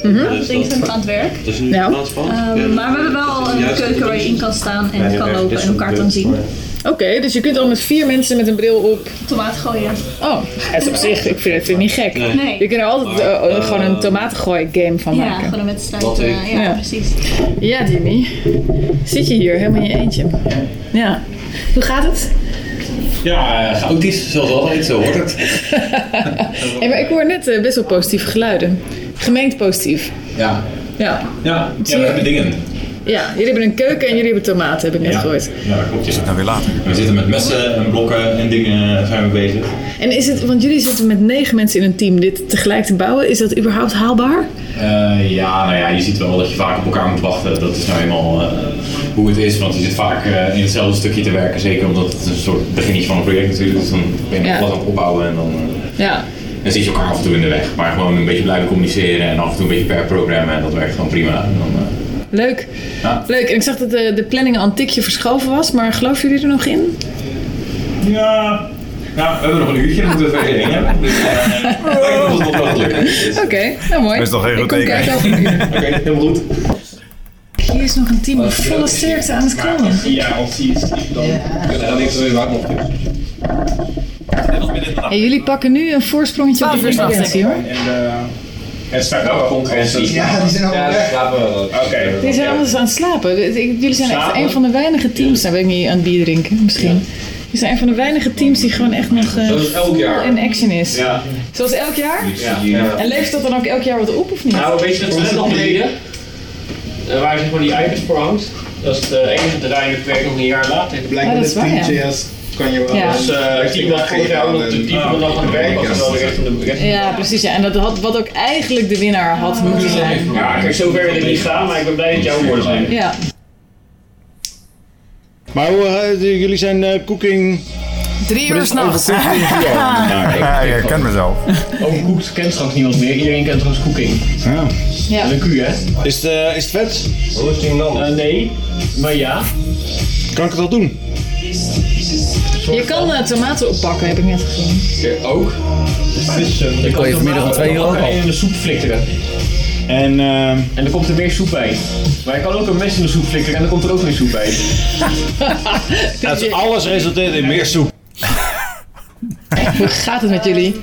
S2: Een aantal dingen zijn nog aan het werk.
S13: Dat is nu
S4: Mhm. Nou.
S2: Ehm, maar we hebben wel al een keuken waar je in kan staan en kan lopen en elkaar kan zien.
S4: Oké, dus je kunt al met vier mensen met een bril op...
S2: Tomaat gooien.
S4: Oh, dat is op zich, ik vind het vind ik niet gek.
S2: Nee. Nee.
S4: Je kunt er altijd eh,
S2: Maar, eh,
S4: gewoon een tomatengooi game van
S2: Ja,
S4: maken.
S2: gewoon een wedstrijd. eh, ja, precies.
S4: Ja, Jimmy. Zit je hier helemaal in je eentje? Ja. Hoe gaat het?
S13: Ja, chaotisch, zoals altijd, zo hoort het.
S4: Hey, maar ik hoor net eh, best wel positieve geluiden. Gemengd positief.
S7: Ja.
S4: Ja.
S7: Ja,
S4: Zie je?
S7: dingen.
S4: Ja, jullie hebben een keuken en jullie hebben tomaten, heb ik net gehoord.
S7: Ja, dat klopt. Is het dan weer later? We zitten met messen en blokken en dingen eh, zijn we bezig.
S4: En is het, want jullie zitten met negen mensen in een team dit tegelijk te bouwen, is dat überhaupt haalbaar?
S7: Eh, ja, nou ja, je ziet wel dat je vaak op elkaar moet wachten. Dat is nou eenmaal eh, hoe het is, want je zit vaak eh, in hetzelfde stukje te werken. Zeker omdat het een soort beginnetje van een project natuurlijk is. Dan ben je
S4: Ja.
S7: nog wat aan het opbouwen en dan, eh,
S4: Ja.
S7: dan zit je elkaar af en toe in de weg. Maar gewoon een beetje blijven communiceren en af en toe een beetje per programma en dat werkt gewoon prima. En dan, eh,
S4: Leuk. Leuk. En ik zag dat de, de planning al een tikje verschoven was, maar geloven jullie er nog in?
S7: Ja. Ja,
S15: nou,
S7: we hebben nog een uurtje, dan moeten we verder heen. Dus
S15: <laughs>
S7: eh, dat nog wel gelukt.
S4: Oké, nou mooi.
S7: Dat is toch geen
S4: Ik
S7: goed
S4: kom
S7: teken.
S4: kijken over een uur.
S7: Oké, helemaal goed.
S4: Hier is nog een team met volle sterkte aan het komen.
S10: Ja, als hij is, dan ga ik zo weer warm op.
S4: Ja, jullie pakken nu een voorsprongetje op de
S10: Twaalf uur
S4: concurrentie hoor.
S10: En eh, het staat wel concurrentie.
S4: Ja, die zijn allemaal
S10: Ja,
S4: weg.
S10: slapen we wel. Oké.
S4: Die zijn anders aan het slapen. De- de- Jullie zijn echt
S10: Slapen?
S4: een van de weinige teams, nou ben ik niet aan het bier drinken misschien. Jullie zijn een van de weinige teams die gewoon echt nog eh,
S10: Zoals elk jaar.
S4: vol in action is.
S10: Ja.
S4: Zoals elk jaar?
S10: Ja.
S4: En leeft dat dan ook elk jaar wat op of niet?
S10: Nou, weet je dat ze nog deden? Eh, waar zeg maar die eikens voor hangt. Dat is de enige draai dat werk nog een jaar later.
S4: Blijkbaar Ah, dat is met waar, ja. TeamJS
S10: kan je
S4: wel Ja. een-
S10: Dus eh, het team wat vorig jaar ook nog de diep van nog aan het werk was, is wel de rest van de rest.
S4: Ja, precies. Ja. En dat had wat ook eigenlijk de winnaar had moeten zijn.
S10: Ja, kijk, zover wil ik niet gaan, maar ik ben blij dat jouw woorden zijn.
S4: Ja.
S3: Maar hoe, eh, de- jullie zijn eh cooking...
S16: Drie
S3: Maar
S16: uur
S3: dit is
S16: s'nachts.
S3: over cooking. Ja.
S17: Ja, ik ken mezelf.
S10: Over Cooks kent straks niemand meer, iedereen kent straks Cooking. Ja.
S4: Ja.
S10: Met een Q, hè? Is, is het vet? Hoe is die dan? nee, maar ja. Kan ik het al doen?
S4: Je kan eh, tomaten oppakken, heb ik net gezien.
S10: ook. Ik
S18: kon je vanmiddag om twee uur ook al.
S10: in de soep flikkeren. En, ehm, en er komt er weer soep bij. Maar je kan ook een mes in de soep flikkeren en er komt er ook weer soep <laughs> bij.
S3: Het alles resulteert in meer soep.
S4: Hoe <laughs> gaat het met jullie?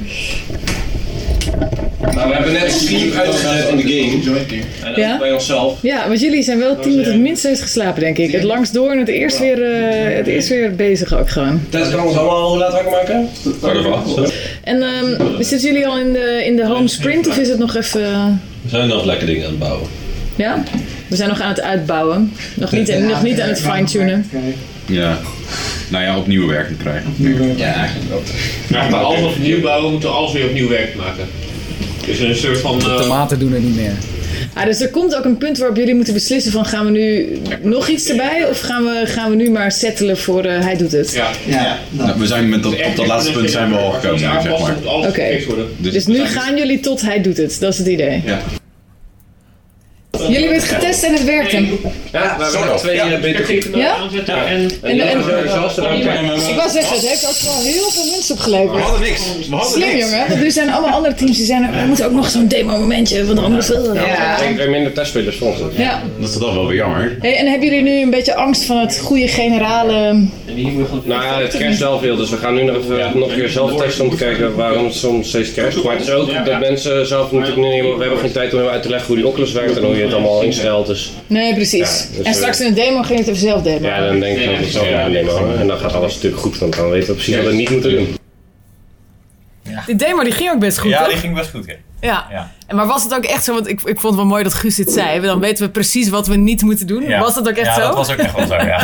S10: Nou, we hebben net een stream uitgezet in de game. En
S4: dat Ja? bij
S10: onszelf.
S4: Ja, want jullie zijn wel het team dat het minst heeft geslapen, denk ik. Het langst door en het eerst weer, eh, het eerst weer bezig ook gewoon.
S10: Tess kan ons allemaal hoe laat wakker maken?
S13: We
S4: En ehm, zitten jullie al in de, in de home sprint of is het nog even... eh,
S13: zijn nog lekker dingen aan het bouwen.
S4: ja? We zijn nog aan het uitbouwen. Nog niet, nog niet aan het fine-tunen.
S19: Ja. Nou ja, opnieuw werken krijgen.
S10: Ja, eigenlijk wel. Ja, maar alles opnieuw bouwen, moeten we alles weer opnieuw werk maken. Dus een soort van...
S18: De tomaten doen het niet meer.
S4: Ah, dus er komt ook een punt waarop jullie moeten beslissen van gaan we nu nog iets erbij of gaan we, gaan we nu maar settelen voor eh, hij doet het.
S10: Ja. Dus
S19: ja. Nou, we zijn met dat, op dat laatste punt zijn we al gekomen, zeg maar.
S4: Oké, dus, nu gaan jullie tot hij doet het, dat is het idee.
S19: Ja.
S4: Jullie hebben het getest en het werkte.
S10: Ja, we hebben nog twee ja, beter
S4: Ja?
S10: aanzetten. En,
S4: En- en- Ik
S10: was
S4: was zeggen, het heeft ook wel heel veel mensen opgeleverd.
S10: We hadden niks. We hadden
S4: Slim
S10: niks.
S4: jongen, want nu zijn allemaal andere teams die zijn er. We moeten ook nog zo'n demo momentje van de andere film.
S7: Ja.
S10: Ik ben minder testspelers volgens mij.
S4: Ja.
S7: Dat is dan wel weer jammer.
S4: Hey, en hebben jullie nu een beetje angst van het goede generale?
S5: Nou ja, het crasht wel veel, dus we gaan nu nog even nog een keer zelf testen om te kijken waarom het soms steeds crasht. Maar het is ook dat mensen zelf natuurlijk niet helemaal- we hebben geen tijd om helemaal uit te leggen hoe die Oculus werkt en hoe je het allemaal instelt. Dus
S4: Nee, precies.
S5: Ja, dus,
S4: en straks in de demo ging je het even zelf demo.
S5: ja, dan denk ik dat het zo een demo en dan gaat alles natuurlijk goed, want dan weten we precies wat we niet moeten doen.
S4: Die demo die ging ook best goed,
S20: ja,
S4: toch?
S20: die ging best goed, ja.
S4: Ja.
S7: Ja.
S4: En Maar was het ook echt zo? Want ik, ik vond het wel mooi dat Guus dit zei. Dan weten we precies wat we niet moeten doen.
S7: Ja.
S4: Was dat ook echt
S7: ja,
S4: zo?
S7: dat was ook echt wel zo,
S4: <laughs>
S7: ja.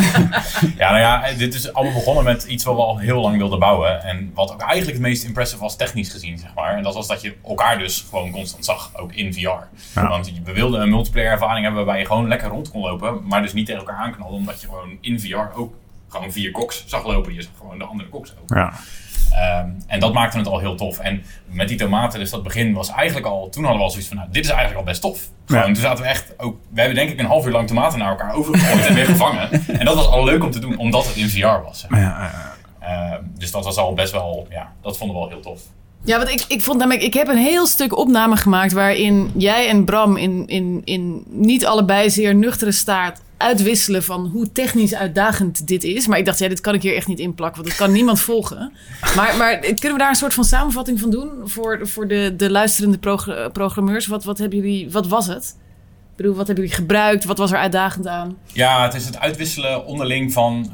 S7: ja, nou ja, dit is allemaal begonnen met iets wat we al heel lang wilden bouwen. En wat ook eigenlijk het meest impressive was technisch gezien, zeg maar. En dat was dat je elkaar dus gewoon constant zag, ook in VR.
S3: Ja.
S7: Want we wilden een multiplayer ervaring hebben waarbij je gewoon lekker rond kon lopen, maar dus niet tegen elkaar aanknallen, omdat je gewoon in VR ook gewoon vier koks zag lopen. Je zag gewoon de andere koks ook.
S3: Ja.
S7: Ehm, en dat maakte het al heel tof. En met die tomaten, dus dat begin was eigenlijk al... Toen hadden we al zoiets van, nou, dit is eigenlijk al best tof. Gewoon,
S3: Ja.
S7: Toen zaten we echt ook... We hebben denk ik een half uur lang tomaten naar elkaar overgegooid en weer gevangen. En dat was al leuk om te doen, omdat het in VR was. zeg maar. Ehm, dus dat was al best wel... Ja, dat vonden we al heel tof.
S4: Ja, want ik, ik vond namelijk, ik heb een heel stuk opname gemaakt waarin jij en Bram in, in, in niet allebei zeer nuchtere staat uitwisselen van hoe technisch uitdagend dit is. Maar ik dacht, ja, dit kan ik hier echt niet inplakken, want dat kan niemand volgen. Maar, maar kunnen we daar een soort van samenvatting van doen voor, voor de, de luisterende progr- programmeurs? Wat, wat, hebben jullie, wat was het? Ik bedoel, wat hebben jullie gebruikt? Wat was er uitdagend aan?
S7: Ja, het is het uitwisselen onderling van eh,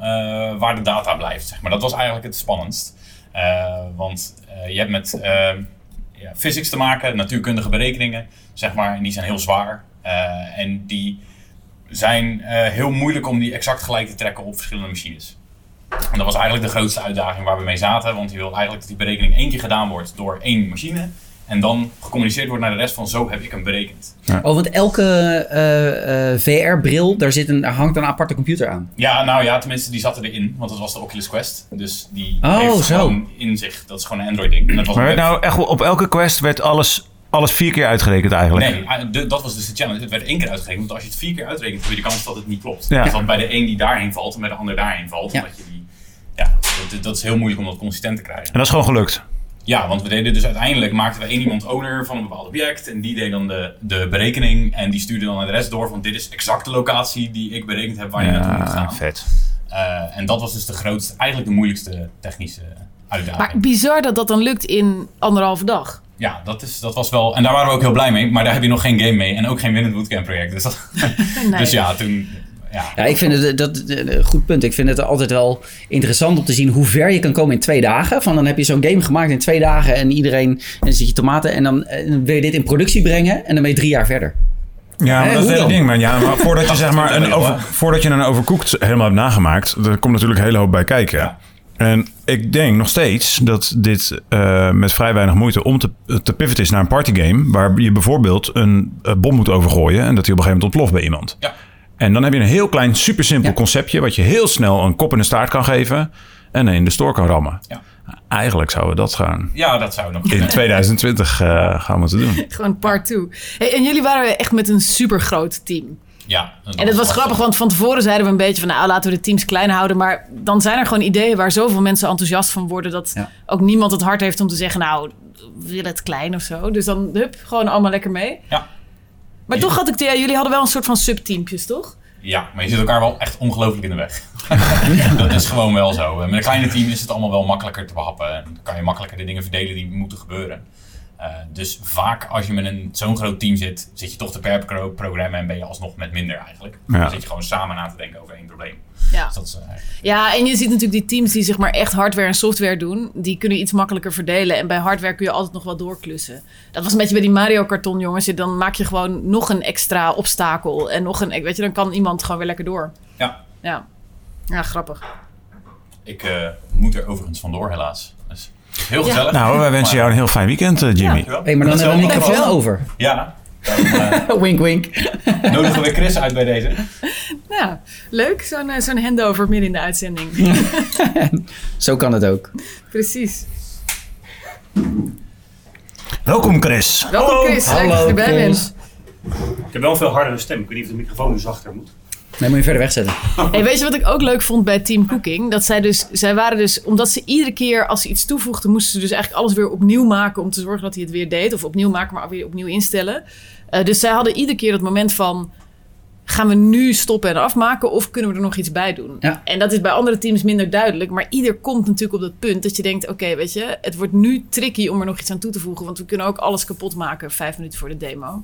S7: waar de data blijft. Zeg maar. Dat was eigenlijk het spannendst. Eh, want eh, je hebt met eh, ja, physics te maken, natuurkundige berekeningen, zeg maar, en die zijn heel zwaar. Eh, en die zijn eh, heel moeilijk om die exact gelijk te trekken op verschillende machines. En dat was eigenlijk de grootste uitdaging waar we mee zaten, want je wil eigenlijk dat die berekening één keer gedaan wordt door één machine. En dan gecommuniceerd wordt naar de rest van zo heb ik hem berekend.
S2: Oh, want elke eh, eh, VR-bril, daar, zit een- daar hangt een aparte computer aan.
S7: Ja, nou ja, tenminste, die zaten erin, want dat was de Oculus Quest. Dus die
S2: Oh,
S7: heeft
S2: zo.
S7: gewoon in zich, dat is gewoon een Android-ding. En dat was
S3: Maar
S7: ook
S3: werd
S7: leuk.
S3: nou echt wel- op elke quest werd alles, alles vier keer uitgerekend eigenlijk.
S7: Nee, ah, de- dat was dus de challenge. Het werd één keer uitgerekend, want als je het vier keer uitrekent, heb je de kans dat het niet klopt.
S3: Ja.
S7: Dus dat bij de een die daarheen valt en bij de ander daarheen valt. Omdat je die, ja, dat, dat is heel moeilijk om dat consistent te krijgen.
S3: En dat is gewoon gelukt.
S7: Ja, want we deden dus uiteindelijk, maakten we één iemand owner van een bepaald object. En die deed dan de, de berekening en die stuurde dan naar de rest door van dit is exact de locatie die ik berekend heb waar je naartoe moet gaan.
S3: Ah, vet.
S7: Eh, en dat was dus de grootste, eigenlijk de moeilijkste technische
S4: Maar
S7: uitdaging.
S4: bizar dat dat dan lukt in anderhalve dag.
S7: Ja, dat, is, dat was wel. En daar waren we ook heel blij mee. Maar daar heb je nog geen game mee. En ook geen winnend bootcamp project. Dus, dat, <laughs> dus ja, toen. Ja.
S2: Ja, ik vind het dat, eh, een goed punt. Ik vind het altijd wel interessant om te zien hoe ver je kan komen in twee dagen. Van dan heb je zo'n game gemaakt in twee dagen en iedereen en dan zit je tomaten en dan eh, wil je dit in productie brengen en dan ben je drie jaar verder.
S3: Ja, maar
S2: Hè,
S3: dat is
S2: hoe
S3: het hele
S2: dan?
S3: ding, man. Ja, maar
S2: <laughs>
S3: voordat je,
S2: Dat
S3: zeg
S2: is
S3: maar
S2: het
S3: een
S2: hele
S3: over,
S2: ding,
S3: voordat je een overkoekt helemaal hebt nagemaakt, er komt natuurlijk een hele hoop bij kijken. En ik denk nog steeds dat dit eh, met vrij weinig moeite om te, te pivoten is naar een partygame. Waar je bijvoorbeeld een, eh, bom moet overgooien en dat die op een gegeven moment ontploft bij iemand. En dan heb je een heel klein, super simpel conceptje. wat je heel snel een kop in de staart kan geven. en in de store kan rammen. Eigenlijk zouden we dat gaan.
S7: ja, dat zou nog.
S2: <laughs>
S3: in 2020 eh, gaan we te doen.
S4: <laughs> Gewoon part two. Hey, en jullie waren echt met een supergroot team.
S7: Ja,
S4: En dat was grappig, want van tevoren zeiden we een beetje van... nou, laten we de teams klein houden. Maar dan zijn er gewoon ideeën waar zoveel mensen enthousiast van worden... dat ook niemand het hart heeft om te zeggen... nou, we willen het klein of zo. Dus dan, hup, gewoon allemaal lekker mee.
S7: Ja.
S4: Maar toch had ik... de- Ja, jullie hadden wel een soort van subteampjes, toch?
S7: Ja, maar je zit elkaar wel echt ongelooflijk in de weg. <laughs> dat is gewoon wel zo. Met een kleine team is het allemaal wel makkelijker te behappen. En dan kan je makkelijker de dingen verdelen die moeten gebeuren. Eh, dus vaak als je met een, zo'n groot team zit, zit je toch te per programmen en ben je alsnog met minder eigenlijk.
S3: Ja.
S7: Dan zit je gewoon samen na te denken over één probleem.
S4: Ja.
S7: Dus dat is, eh,
S4: Ja, en je ziet natuurlijk die teams die zeg maar echt hardware en software doen. Die kunnen iets makkelijker verdelen. En bij hardware kun je altijd nog wel doorklussen. Dat was een beetje bij die Mario karton, jongens. Je- Dan maak je gewoon nog een extra obstakel. En nog een, weet je, dan kan iemand gewoon weer lekker door.
S7: Ja.
S4: Ja, ja grappig.
S7: ik eh, moet er overigens vandoor helaas. Dus heel gezellig.
S3: Nou, wij wensen jou een heel fijn weekend, eh, Jimmy.
S7: Dankjewel.
S2: Hey, maar dan hebben we een microfoon
S7: Dankjewel.
S2: over.
S7: Ja,
S10: eh,
S2: wink, wink.
S7: nodigen we Chris uit bij deze.
S4: Nou, leuk. Zo'n eh, zo'n handover midden in de uitzending.
S2: Zo kan het ook.
S4: Precies.
S3: Welkom, Chris.
S4: Welkom, Hallo. Chris. Leuk dat je Hallo, erbij Chris. bent.
S21: Ik heb wel een veel hardere stem. Ik weet niet of de microfoon nu zachter moet.
S2: Nee, moet je verder wegzetten.
S4: Hey, weet je wat ik ook leuk vond bij Team Cooking? Dat zij dus, zij waren dus, omdat ze iedere keer als ze iets toevoegden, moesten ze dus eigenlijk alles weer opnieuw maken om te zorgen dat hij het weer deed. Of opnieuw maken, maar weer opnieuw instellen. Eh, dus zij hadden iedere keer dat moment van, gaan we nu stoppen en afmaken of kunnen we er nog iets bij doen? En dat is bij andere teams minder duidelijk, maar ieder komt natuurlijk op dat punt dat je denkt, oké, weet je, het wordt nu tricky om er nog iets aan toe te voegen, want we kunnen ook alles kapot maken vijf minuten voor de demo.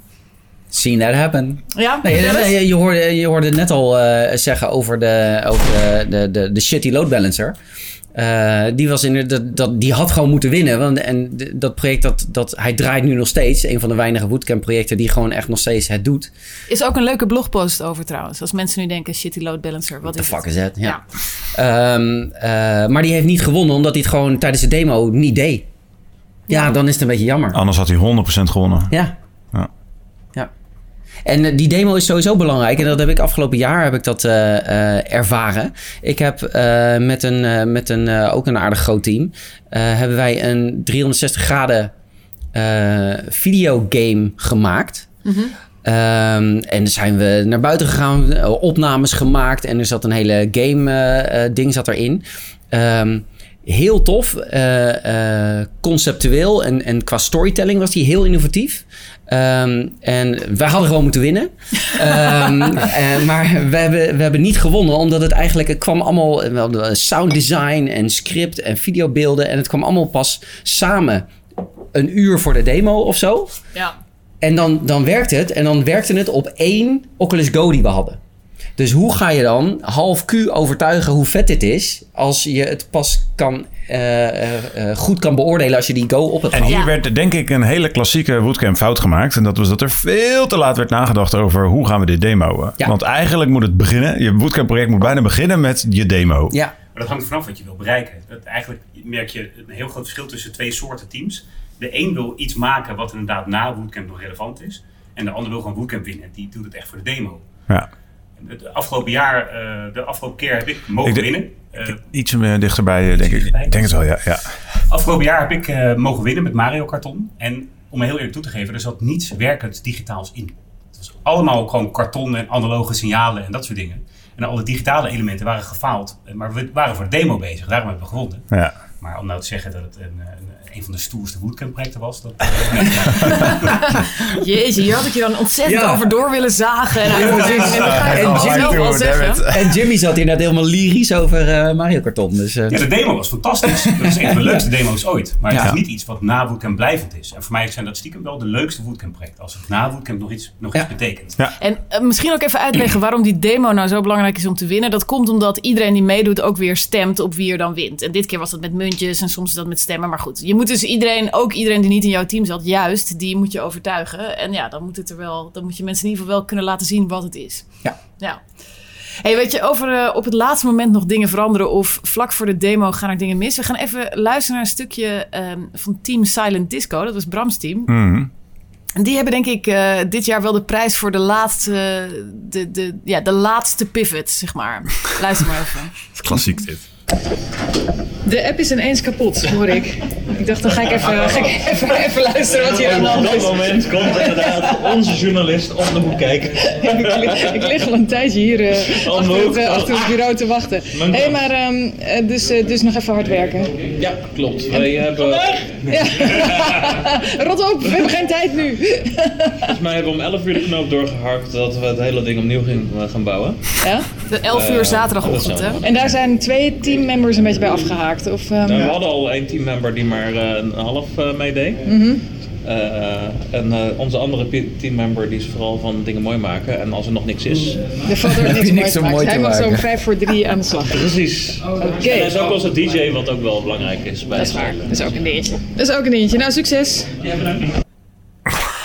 S2: Seen that happen.
S4: Ja,
S2: Nee,
S4: vertel eens.
S2: nee, je, hoorde, je hoorde net al eh, zeggen over de, over de, de, de, de shitty load balancer. Eh, Eh, die, was in, dat, dat, die had gewoon moeten winnen. Want, en d- dat project, dat, dat, hij draait nu nog steeds. Een van de weinige Woodcamp projecten die gewoon echt nog steeds het doet.
S4: Is ook een leuke blogpost over trouwens. Als mensen nu denken, shitty load balancer, wat
S2: de
S4: is
S2: fuck
S4: het?
S2: is het? Ja. Ehm, eh, maar die heeft niet gewonnen omdat hij het gewoon tijdens de demo niet deed. Ja, dan is het een beetje jammer.
S3: Anders had hij 100% gewonnen.
S2: Ja.
S3: Ja.
S2: Ja. En eh, die demo is sowieso belangrijk. En dat heb ik afgelopen jaar heb ik dat eh, eh, ervaren. Ik heb eh, met een, eh, met een eh, ook een aardig groot team... eh, hebben wij een 360 graden eh, videogame gemaakt...
S21: Mhm.
S2: Ehm, en dan zijn we naar buiten gegaan, eh, opnames gemaakt en er zat een hele game eh, eh, ding zat erin. Ehm, heel tof, eh, eh, conceptueel en, en qua storytelling was die heel innovatief. Ehm, en wij hadden gewoon moeten winnen. Ehm, eh, maar we hebben, we hebben niet gewonnen, omdat het eigenlijk het kwam allemaal. eh, We hadden sound design en script en videobeelden. En het kwam allemaal pas samen een uur voor de demo of zo.
S4: Ja.
S2: En dan, dan werkt het. En dan werkte het op één Oculus Go die we hadden. Dus hoe ga je dan half Q overtuigen hoe vet dit is... als je het pas kan, eh, eh, eh, goed kan beoordelen als je die Go op hebt
S3: En
S2: gehad?
S3: hier werd denk ik een hele klassieke Woodcamp fout gemaakt. En dat was dat er veel te laat werd nagedacht over hoe gaan we dit demoen. Want eigenlijk moet het beginnen. Je Woodcamp project moet bijna beginnen met je demo.
S21: Maar dat hangt er vanaf wat je wil bereiken. Dat eigenlijk merk je een heel groot verschil tussen twee soorten teams. De een wil iets maken wat inderdaad na Bootcamp nog relevant is. En de ander wil gewoon Bootcamp winnen. Die doet het echt voor de demo.
S3: Ja.
S21: Het afgelopen jaar, eh, de afgelopen keer heb ik mogen
S3: Ik denk-
S21: winnen. Eh,
S3: Iets eh, dichterbij, eh, denk ik. Ik denk het wel, ja. ja.
S21: Afgelopen jaar heb ik eh, mogen winnen met Mario Karton. En om heel eerlijk toe te geven, er zat niets werkend digitaals in. Het was allemaal gewoon karton en analoge signalen en dat soort dingen. En alle digitale elementen waren gefaald. eh, Maar we waren voor de demo bezig, daarom hebben we gewonnen.
S3: Ja.
S21: Maar om nou te zeggen dat het een, eh, een, een van de stoerste bootcamp projecten was, dat... eh, nee.
S4: Jezus, hier had ik je dan ontzettend
S21: Ja.
S4: over door willen zagen. En,
S21: Ja,
S4: uit willen
S21: precies.
S4: zien. En dat ga je
S21: En
S4: toch
S21: Jimmy
S4: zelf wel
S21: Doe,
S4: zeggen.
S21: damn
S2: En Jimmy zat inderdaad helemaal lyrisch over eh, Mario Karton. Dus, eh,
S21: Ja, de demo was fantastisch. Dat is een van de leukste
S2: Ja.
S21: demo's ooit. Maar het
S2: Ja.
S21: is niet iets wat na Bootcamp blijvend is. En voor mij zijn dat stiekem wel de leukste Bootcamp projecten. Als het na Bootcamp nog iets, nog iets betekent.
S4: En eh, misschien ook even uitleggen waarom die demo nou zo belangrijk is om te winnen. Dat komt omdat iedereen die meedoet ook weer stemt op wie er dan wint. En dit keer was dat met muntjes en soms is dat met stemmen. Maar goed, je moet dus iedereen, ook iedereen die niet in jouw team zat, juist, die moet je overtuigen. En ja, dan moet, het er wel, dan moet je mensen in ieder geval wel kunnen laten zien wat het is.
S2: Ja.
S4: Ja. Hey, weet je, over eh, op het laatste moment nog dingen veranderen of vlak voor de demo gaan er dingen mis. We gaan even luisteren naar een stukje ehm, van Team Silent Disco. Dat was Brams team.
S21: Mm-hmm.
S4: En die hebben denk ik eh, dit jaar wel de prijs voor de laatste, de, de, ja, de laatste pivot, zeg maar. Luister maar even.
S3: Klassiek dit.
S15: De app is ineens kapot, hoor ik. Ik dacht, dan ga ik <laughs> even, ga ik even, even luisteren wat hier aan de hand is.
S22: komt inderdaad onze journalist om de hoek kijken.
S15: ik, lig, ik lig al een tijdje hier eh,
S22: Om de
S15: achter,
S22: hoek.
S15: het, eh, achter het bureau te wachten.
S10: Mijn
S15: hey, maar ehm, eh, dus, eh, dus nog even hard werken.
S10: Ja, klopt. Wij hebben,
S15: Ja. <laughs> Rot op, we hebben geen tijd nu.
S10: volgens mij hebben we om 11 uur de knoop doorgehakt dat we het hele ding opnieuw gaan, gaan bouwen.
S15: ja?
S4: De 11 uur
S10: Eh,
S4: zaterdagochtend,
S10: dat
S4: hè?
S10: zou-
S15: En daar zijn twee teammembers een beetje bij afgehaakt. Of, ehm,
S10: Nou, we hadden al één teammember die maar eh, een half eh, meedeed.
S15: mhm.
S10: Eh, en eh, onze andere pi- teammember die is vooral van dingen mooi maken. En als er nog niks is. <laughs>
S15: De vader
S10: Dus- heb
S15: heeft
S10: je
S15: niks
S10: niks
S15: mooi
S10: om
S15: gemaakt.
S10: mooi te
S15: Hij mag zo om
S10: maken.
S15: vijf voor drie aan de slag.
S10: Precies.
S15: Oké.
S10: En hij is ook onze DJ, wat ook wel belangrijk is. Bij dat is waar. Dat
S15: is ook een dingetje. Dat is ook een dingetje. Nou, succes.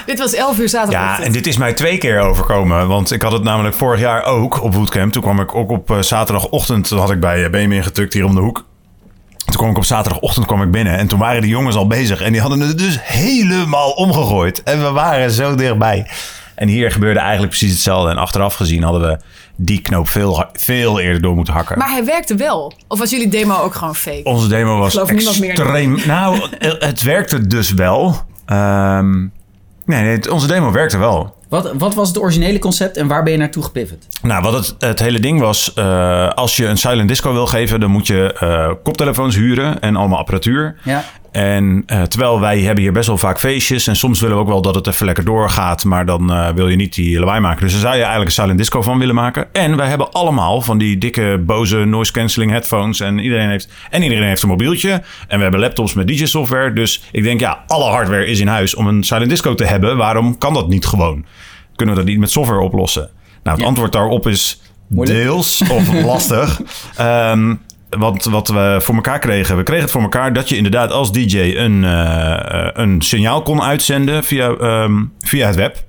S4: Dit was 11 uur
S3: Ja,
S4: zaterdagochtend.
S3: Ah, en dit is mij twee keer overkomen. Want ik had het namelijk vorig jaar ook op Bootcamp. Toen kwam ik ook op eh, zaterdagochtend. Toen had ik bij eh, BM ingetukt hier om de hoek. Toen kwam ik op zaterdagochtend kwam ik binnen. En toen waren die jongens al bezig. En die hadden het dus helemaal omgegooid. En we waren zo dichtbij. En hier gebeurde eigenlijk precies hetzelfde. En achteraf gezien hadden we die knoop veel, ha- veel eerder door moeten hakken.
S4: Maar hij werkte wel. Of was jullie demo ook gewoon fake?
S10: Oh,
S3: Onze demo was
S4: Geloof niemand meer.
S3: extreem.
S4: <laughs>
S3: Nou, het werkte dus wel. Ehm, nee, nee, het- onze demo werkte wel.
S2: wat, wat was het originele concept en waar ben je naartoe gepivot?
S3: Nou, wat het, het hele ding was, eh, als je een silent disco wil geven, dan moet je eh, koptelefoons huren en allemaal apparatuur.
S2: Ja.
S3: En eh, terwijl wij hebben hier best wel vaak feestjes en soms willen we ook wel dat het even lekker doorgaat, maar dan eh, wil je niet die lawaai maken. Dus daar zou je eigenlijk een silent disco van willen maken. En wij hebben allemaal van die dikke boze noise cancelling headphones en iedereen heeft, en iedereen heeft een mobieltje en we hebben laptops met DJ software. Dus ik denk ja, alle hardware is in huis om een silent disco te hebben. Waarom kan dat niet gewoon? Kunnen we dat niet met software oplossen? Nou, het antwoord daarop is deels of lastig. Ehm, wat, wat we voor elkaar kregen. We kregen het voor elkaar dat je inderdaad als DJ een, eh, een signaal kon uitzenden via, ehm, via het web.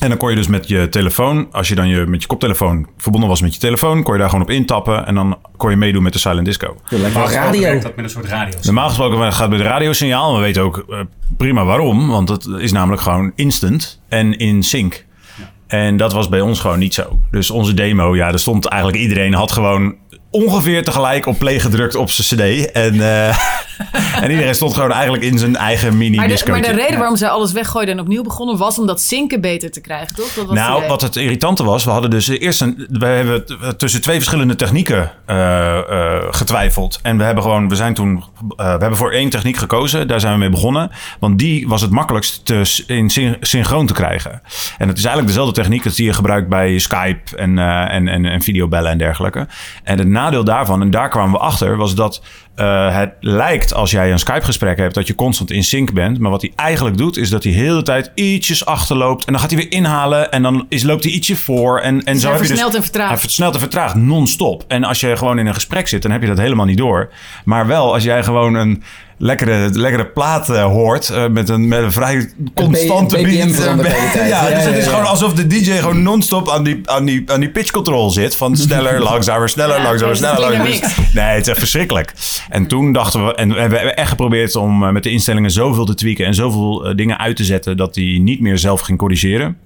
S3: En dan kon je dus met je telefoon, als je dan je, met je koptelefoon verbonden was met je telefoon, kon je daar gewoon op intappen en dan kon je meedoen met de silent disco.
S21: Normaal gesproken werkt Dat met een soort radio.
S3: Normaal gesproken gaat het bij de radiosignaal. We weten ook eh, prima waarom, want het is namelijk gewoon instant en in sync. En dat was bij ons gewoon niet zo. Dus onze demo, ja, daar stond eigenlijk iedereen had gewoon ongeveer tegelijk op play gedrukt op zijn CD. En, eh, <laughs> en iedereen stond gewoon eigenlijk in zijn eigen mini
S2: Maar de,
S3: discootje.
S2: maar de reden waarom zij alles weggooiden en opnieuw begonnen was om dat zinken beter te krijgen, toch? Dat was de
S3: nou,
S2: reden.
S3: wat het irritante was, we hadden dus eerst een, we hebben t- eh, tussen twee verschillende technieken eh, eh, getwijfeld. En we hebben gewoon, we zijn toen, eh, we hebben voor één techniek gekozen, daar zijn we mee begonnen. Want die was het makkelijkst te, s- in syn- synchroon te krijgen. En het is eigenlijk dezelfde techniek als die je gebruikt bij Skype en, eh, en, en, en videobellen en dergelijke. En het nadeel daarvan, en daar kwamen we achter, was dat eh, het lijkt als jij een Skype-gesprek hebt dat je constant in sync bent. Maar wat hij eigenlijk doet, is dat hij heel de hele tijd ietsjes achterloopt. En dan gaat hij weer inhalen en dan is, loopt hij ietsje voor. En, en
S2: Dus
S3: zo
S2: hij
S3: heb je dus,
S2: versnelt en vertraagt.
S3: Hij versnelt en vertraagt non-stop. En als je gewoon in een gesprek zit, dan heb je dat helemaal niet door. Maar wel als jij gewoon een lekkere, lekkere plaat eh, hoort eh, met, een, met een vrij constante
S15: BPM
S3: beat.
S15: verandert
S3: <laughs>
S15: de hele tijd.
S3: Ja,
S15: Ja,
S3: dus
S15: ja,
S3: het is
S15: ja.
S3: gewoon alsof de DJ gewoon non-stop aan die, aan die, aan die pitch control
S15: <laughs>
S3: zit. Van sneller, langzamer, sneller,
S15: Ja,
S3: langzamer,
S15: het is een
S3: sneller,
S15: dynamiek.
S3: langzamer. Nee, het is echt verschrikkelijk. En toen dachten we, en we hebben echt geprobeerd om eh, met de instellingen zoveel te tweaken en zoveel eh, dingen uit te zetten dat die niet meer zelf ging corrigeren. Maar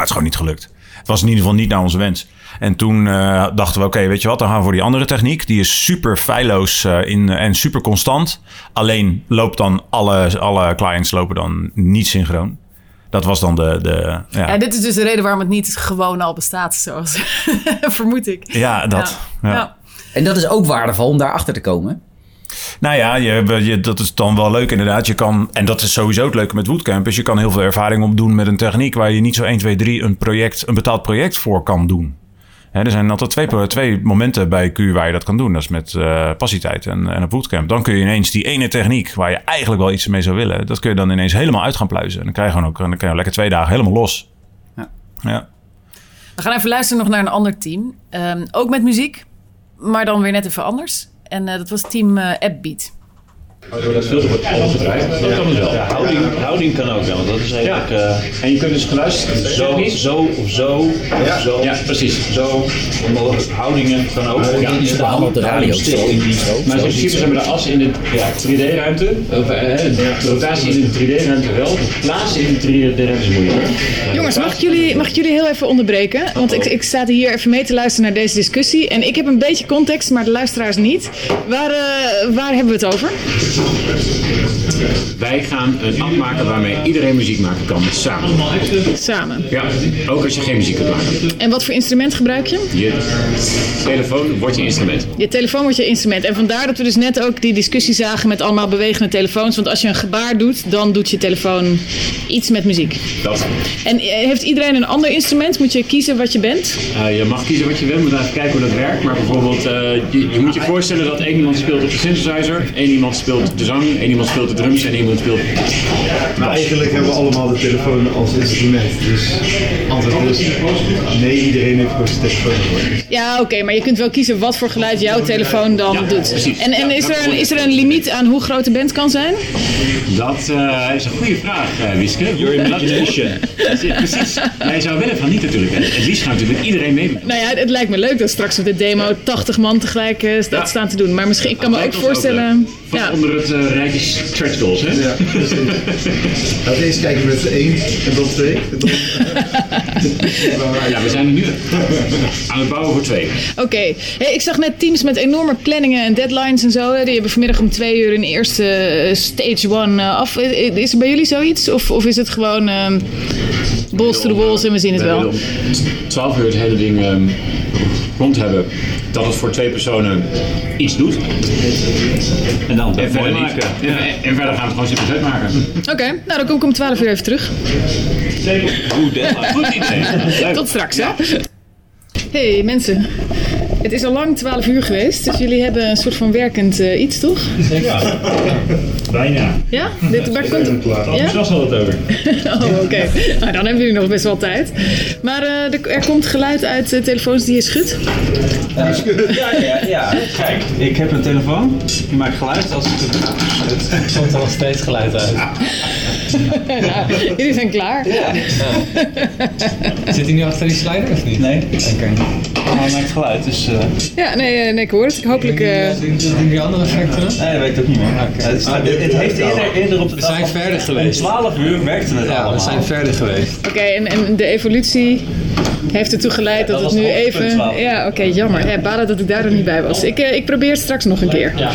S3: het is gewoon niet gelukt. Het was in ieder geval niet naar onze wens. En toen eh, dachten we, oké, weet je wat, dan gaan we voor die andere techniek. Die is super feilloos eh, in, en super constant. Alleen loopt dan alle, alle clients lopen dan niet synchroon. Dat was dan de... de ja.
S2: Ja, dit is dus de reden waarom het niet gewoon al bestaat, zoals <laughs> vermoed ik.
S3: Ja, dat.
S2: Ja.
S3: Ja.
S2: Ja.
S3: En dat is ook waardevol om daarachter te komen. Nou ja, je, je, dat is dan wel leuk inderdaad. Je kan, en dat is sowieso het leuke met Woodcamp. Is je kan heel veel ervaring opdoen met een techniek... waar je niet zo 1, 2, 3 een, project, een betaald project voor kan doen. Hè, er zijn altijd twee, pro- twee momenten bij Q waar je dat kan doen. Dat is met eh, passietijd en, en op Woodcamp. Dan kun je ineens die ene techniek waar je eigenlijk wel iets mee zou willen... dat kun je dan ineens helemaal uit gaan pluizen. En dan krijg je gewoon ook, dan kan je lekker twee dagen helemaal los. ja.
S2: We gaan even luisteren nog naar een ander team. Ehm, ook met muziek, maar dan weer net even anders. En eh, dat was team eh, Appbeat.
S10: Dat veel wordt omgedraaid. Dat kan dus wel. houding, houding kan ook wel. Dat is eigenlijk, en je kunt dus geluisterd zo, zo of zo. of zo. ja, precies. Zo. Houdingen kan ook.
S15: Ja,
S10: Dat
S15: de hand op de radio.
S10: houding stil dus in die-
S15: Zo,
S10: Maar
S15: zo,
S10: in principe
S15: zo.
S10: zijn we de as in de ja, 3D-ruimte. Of, eh, De rotatie in de 3D-ruimte wel. De plaatsen in de 3D-ruimte is moeilijk.
S4: Jongens, mag ik jullie, mag ik jullie heel even onderbreken? Want ik, ik sta hier even mee te luisteren naar deze discussie. En ik heb een beetje context, maar de luisteraars niet. Waar, eh, waar hebben we het over?
S23: Wij gaan een app maken waarmee iedereen muziek maken kan, samen.
S4: Samen.
S23: Ja, ook als je geen muziek kunt maken.
S4: En wat voor instrument gebruik je?
S23: Je telefoon wordt je instrument.
S4: Je telefoon wordt je instrument. En vandaar dat we dus net ook die discussie zagen met allemaal bewegende telefoons. Want als je een gebaar doet, dan doet je telefoon iets met muziek.
S10: Dat.
S4: En eh, heeft iedereen een ander instrument? Moet je kiezen wat je bent?
S10: Eh, je mag kiezen wat je wil, moet even kijken hoe dat werkt. Maar bijvoorbeeld, eh, je, je moet je voorstellen dat één iemand speelt op de synthesizer, één iemand speelt de zang, één iemand speelt de drums en één iemand speelt.
S15: Maar Nou, eigenlijk hebben we allemaal de telefoon als instrument. Dus antwoord is nee, iedereen heeft gewoon zijn telefoon. nodig.
S4: Ja, oké, maar je kunt wel kiezen wat voor geluid jouw telefoon dan doet.
S10: precies.
S4: En, en
S10: Ja,
S4: is,
S10: dat
S4: er een,
S10: hoor je.
S4: is er een limiet aan hoe groot de band kan zijn?
S10: Dat eh, is een goede vraag, eh Wieske. Your imagination. Precies. Jij zou willen van niet natuurlijk. En het liefst gaat natuurlijk iedereen mee.
S4: Nou ja, het lijkt me leuk dat straks op de demo 80 man tegelijk eh, staat staan te doen. Maar misschien, ik kan me ook
S10: lijkt ons
S4: voorstellen...
S10: Van onder het eh, rijtje stretch goals, hè? Ja, <laughs>
S15: Laten we eerst kijken met één en dan twee. En dan...
S23: Ja, we zijn er nu aan het bouwen voor twee.
S4: Oké, hey, ik zag net teams met enorme planningen en deadlines en zo. hè. Die hebben vanmiddag om twee uur hun eerste eh, stage one eh, af. Is- Is er bij jullie zoiets? Of, of is het gewoon ehm balls to the walls en we zien het wel?
S23: 12 uur het hele ding ehm, rond hebben. Dat het voor twee personen iets doet.
S10: En dan
S23: en verder niet.
S10: En, en verder gaan we gewoon zitten zet maken.
S15: <laughs>
S4: Oké, nou dan kom ik om 12 uur even terug.
S10: Goed, deadline. Goed idee. Leuk.
S4: Tot straks, hè? Hey mensen, Het is al lang 12 uur geweest, dus jullie hebben een soort van werkend eh, iets, toch?
S15: Ja. Bijna.
S4: Ja? <laughs> Dit, waar komt het?
S15: Ja?
S4: Ja?
S15: Zelfs had het over.
S4: Oh, oké. Nou, dan hebben jullie nog best wel tijd. Maar eh, er, er komt geluid uit eh, telefoons die je schudt. <laughs>
S15: Ja, ja, ja. Kijk, ik heb een telefoon. Die maakt geluid als ik het... Het komt er nog steeds geluid uit.
S4: nou, jullie zijn klaar.
S15: Zit hij nu achter die slider of niet? Nee. Oké. Hij maakt geluid, dus... eh
S4: Ja, nee, eh, nee, ik hoor het. Hopelijk... eh,
S15: Doen die andere effecten? Nee, dat weet ik ook niet meer. Het, is- het heeft eerder, eerder op de We zijn verder geweest. 12 uur werkte het allemaal. we zijn verder geweest.
S4: Oké, en, en de evolutie heeft ertoe geleid dat,
S15: Ja, dat
S4: het nu
S15: was het hoogtepunt
S4: even...
S21: wel.
S4: Ja, oké, jammer. Ja, balen dat ik daar dan niet bij was. Ik, eh, ik probeer het straks nog een keer. Ja,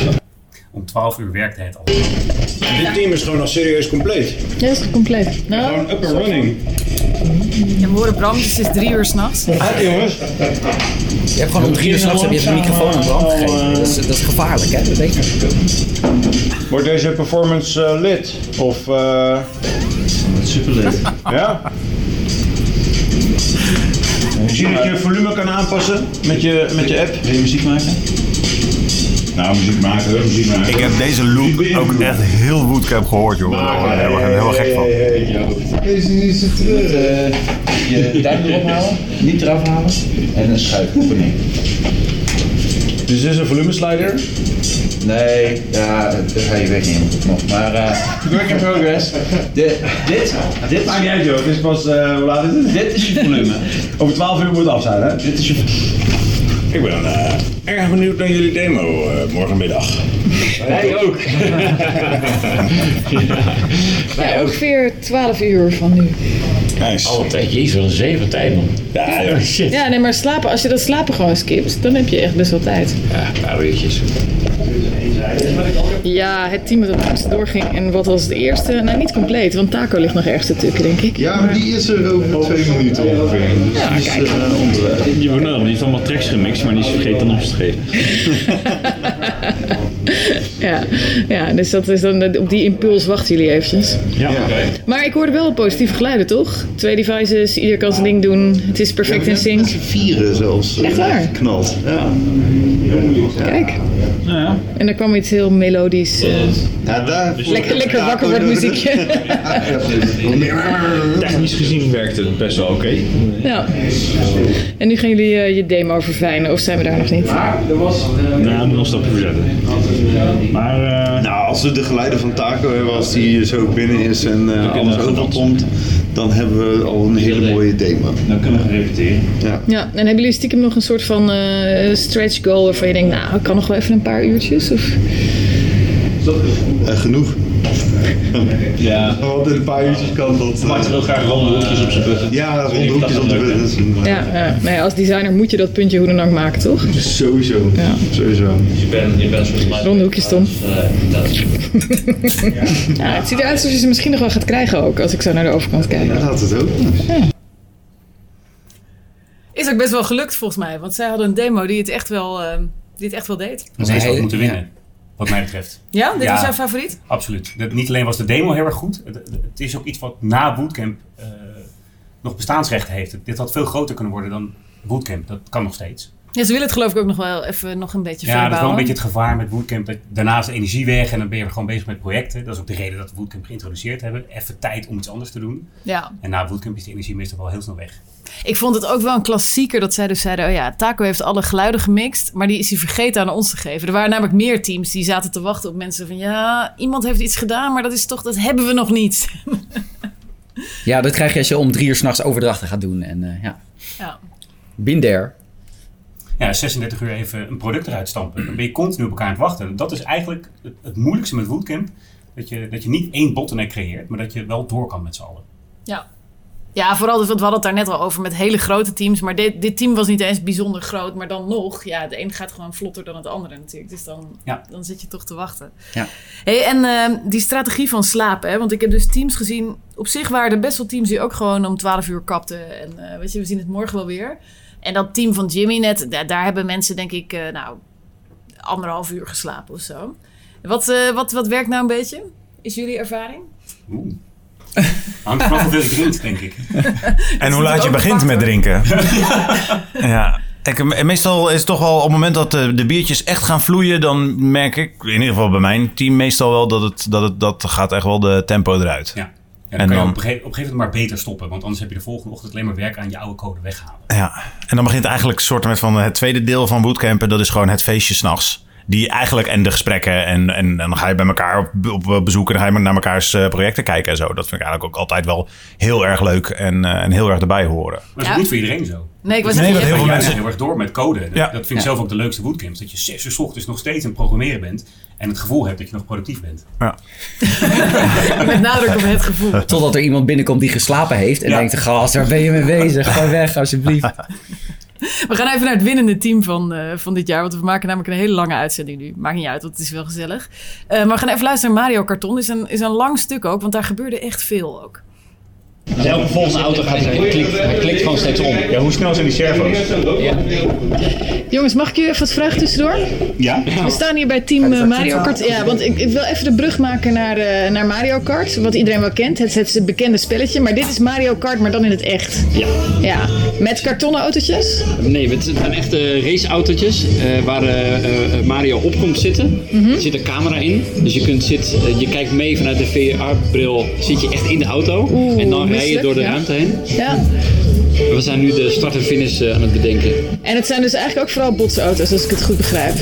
S21: Om 12 uur werkte het al.
S3: Dit team is gewoon nog serieus compleet.
S4: dat is compleet. Nou,
S3: Gewoon up and running.
S24: En we horen Bram, dus het is drie uur s'nachts.
S3: Ah, jongens.
S2: Je hebt gewoon om drie uur s'nachts heb je de microfoon in brand gegeven. Dat is, dat
S15: eh,
S2: is gevaarlijk, hè? Dat weet je.
S3: Wordt deze performance eh, lid? Of... eh Super lid. Ja? Zie je dat je volume kan aanpassen met je, met je app? Wil je muziek maken? Nou, muziek maken, hoor, muziek maken.
S25: Ik heb deze loop ook echt heel woodcamp gehoord, jongen. Daar word ik helemaal gek van.
S4: Wees niet zo treurig.
S3: eh.
S4: Je duim erop halen, niet eraf halen en een schuifoefening.
S3: Dus dit is een volumeslider?
S4: Nee, ja, daar ga je weg niet nog. Maar eh work in progress. De, dit, dit
S3: Maakt niet uit, joh. Het is pas, eh, hoe laat is het? Dit is je volume. Over 12 uur moet het af zijn, hè? Dit is je... Ik ben eh, erg benieuwd naar jullie demo eh, morgenmiddag.
S4: Wij
S3: <laughs>
S4: ook. Ja, ongeveer 12 uur van nu.
S3: Nice.
S15: Alle tijd, jezus, wat een zeven tijd man. Oh,
S3: Ja,
S15: Shit.
S4: Ja, nee, maar slapen, als je dat slapen gewoon skipt, dan heb je echt best wel tijd.
S15: Ja, een paar uurtjes.
S4: Ja, het team dat het langst doorging en wat was het eerste? Nou, niet compleet, want Taco ligt nog ergens te tukken, denk ik.
S26: Ja, maar die is er over twee minuten ongeveer. Dus die is, eh, onderweg.
S15: Je wordt nou, die heeft allemaal tracks gemixt, maar die is vergeten op te geven.
S4: Ja, ja dus dat is dan, op die impuls wachten jullie eventjes.
S15: Ja, oké.
S4: Maar ik hoorde wel positieve geluiden, toch? Twee devices, ieder kan zijn ding doen, het is perfect in sync.
S26: Vieren zelfs. eh,
S4: Echt waar?
S26: Knalt. Ja.
S4: Kijk. En daar kwam iets heel melodisch. eh,
S26: Ja, daar...
S4: lekker, lekker wakker wordt muziekje.
S26: <laughs>
S15: Technisch gezien werkte het best wel oké.
S4: ja. En nu gaan jullie eh, je demo verfijnen, of zijn we daar nog niet?
S15: er was... Nou, moet nog een stapje verzetten. Maar... eh,
S26: Nou, als we de geluiden van Taco hebben, als die hier zo binnen is en eh,
S15: kunnen
S26: alles
S15: we gaan
S26: overkomt, dan hebben we al een hele mooie demo.
S15: Dan kunnen we gaan repeteren.
S26: Ja.
S4: Ja, en hebben jullie stiekem nog een soort van eh, stretch goal waarvan je denkt, nou, ik kan nog wel even een paar uurtjes? Of...
S26: Eh, genoeg.
S15: <laughs> Ja.
S26: Want in een paar uurtjes kan dat... eh,
S15: Maakt er ook graag ronde hoekjes op zijn button.
S26: Ja, ronde hoekjes op de button. is een-
S4: Ja, ja. Nou ja, als designer moet je dat puntje hoe dan ook maken, toch?
S26: Sowieso. Sowieso.
S15: Je bent je bent zo'n Eh,
S4: Ronde hoekjes, Tom.
S15: dat is
S4: <laughs> Ja, het ziet eruit alsof je ze misschien nog wel gaat krijgen ook, als ik zo naar de overkant kijk. Ja,
S26: dat het ook.
S24: Hm. Is ook best wel gelukt volgens mij, want zij hadden een demo die het echt wel, eh, die het echt wel deed.
S21: Dat is wat moeten winnen, wat mij betreft.
S24: Ja, dit was jouw favoriet?
S21: Absoluut. Dat, niet alleen was de demo heel erg goed, het, het is ook iets wat na Bootcamp eh, nog bestaansrecht heeft. Dit had veel groter kunnen worden dan Bootcamp, dat kan nog steeds.
S24: Ja, ze willen het geloof ik ook nog wel even nog een beetje
S21: Ja, dat is wel een
S24: verbouwen.
S21: beetje het gevaar met Bootcamp. Dat daarna is de energie weg en dan ben je gewoon bezig met projecten. Dat is ook de reden dat we Bootcamp geïntroduceerd hebben. Even tijd om iets anders te doen.
S24: Ja.
S21: En na Bootcamp is de energie meestal wel heel snel weg.
S24: Ik vond het ook wel een klassieker dat zij dus zeiden... oh ja, Taco heeft alle geluiden gemixt... maar die is hij vergeten aan ons te geven. Er waren namelijk meer teams die zaten te wachten op mensen van... ja, iemand heeft iets gedaan, maar dat is toch... dat hebben we nog niet. <laughs>
S2: Ja, dat krijg je als je om drie uur s'nachts overdrachten gaat doen. En eh, ja,
S24: ja.
S2: been there.
S21: Ja, 36 uur even een product eruit stampen. Dan ben je continu op elkaar aan het wachten. Dat is eigenlijk het, het moeilijkste met Bootcamp. Dat je, dat je niet één bottleneck creëert, maar dat je wel door kan met z'n allen.
S24: Ja. Ja, vooral, dus, want we hadden het daar net al over met hele grote teams. Maar dit, dit team was niet eens bijzonder groot. Maar dan nog, ja, het een gaat gewoon vlotter dan het andere natuurlijk. Dus dan,
S21: Ja.
S24: dan zit je toch te wachten.
S2: Ja.
S24: Hey, en ehm, die strategie van slapen, hè? want ik heb dus teams gezien. Op zich waren er best wel teams die ook gewoon om 12 uur kapten. En eh, weet je, we zien het morgen wel weer. En dat team van Jimmy net, da- daar hebben mensen denk ik, eh, nou, anderhalf uur geslapen of zo. Wat, eh, wat, wat werkt nou een beetje? Is jullie ervaring?
S3: <laughs>
S21: Hangt vanaf hoeveel je drinkt, denk ik.
S27: <laughs>
S25: En hoe laat je begint met drinken. Ja,
S3: Ik, en meestal is het toch wel op het moment dat de, de biertjes echt gaan vloeien, dan merk ik, in ieder geval bij mijn team, meestal wel dat het, dat het dat gaat echt wel de tempo eruit.
S27: Ja. Ja, dan kan je op een, gege- op een gegeven moment maar beter stoppen. Want anders heb je de volgende ochtend alleen maar werk aan je oude code weghalen.
S3: Ja, en dan begint eigenlijk een soort met van het tweede deel van bootcampen. Dat is gewoon het feestje s'nachts. Die eigenlijk en de gesprekken en, en, en dan ga je bij elkaar op, op bezoek en dan ga je naar mekaars eh, projecten kijken en zo. Dat vind ik eigenlijk ook altijd wel heel erg leuk en, eh, en heel erg erbij horen.
S27: Maar dat is niet voor iedereen
S24: <laughs>
S27: zo.
S28: Nee, ik was
S3: Nee,
S27: dat
S3: dat heel veel mensen-
S27: heel erg door met code. Dat, dat vind ik
S3: Ja.
S27: zelf ook de leukste bootcamps. Dat je zes uur 's ochtends nog steeds aan het programmeren bent. En het gevoel hebt dat je nog productief bent.
S28: Met nadruk op het gevoel.
S2: <laughs> Totdat er iemand binnenkomt die geslapen heeft en
S27: Ja.
S2: denkt: gast, waar ben je mee bezig? Ga weg, alsjeblieft.
S28: We gaan even naar het winnende team van, eh, van dit jaar. Want we maken namelijk een hele lange uitzending nu. Maakt niet uit, want het is wel gezellig. Eh, maar we gaan even luisteren naar Mario Karton. Is een, is een lang stuk ook, want daar gebeurde echt veel ook.
S29: Dus elke volgende auto gaat, hij klikt, hij klikt gewoon steeds om. Ja, hoe snel zijn die servo's?
S4: Jongens, mag ik je even wat vragen tussendoor?
S29: Ja.
S4: We staan hier bij team eh, Mario Kart. Ja, want ik, ik wil even de brug maken naar, eh, naar Mario Kart. Wat iedereen wel kent. Het, het is het bekende spelletje. Maar dit is Mario Kart, maar dan in het echt.
S15: Ja.
S4: Ja. Met kartonnen autootjes.
S15: Nee, het zijn echte raceautootjes eh, waar eh, eh, Mario op komt zitten.
S4: Mhm.
S15: Er zit een camera in, dus je, kunt zit, eh, je kijkt mee vanuit de VR-bril, zit je echt in de auto.
S4: Oeh,
S15: en dan rij je
S4: misselijk,
S15: door de
S4: ja.
S15: ruimte heen.
S4: Ja.
S15: We zijn nu de start en finish eh, aan het bedenken.
S4: En het zijn dus eigenlijk ook vooral botsauto's, als ik het goed begrijp.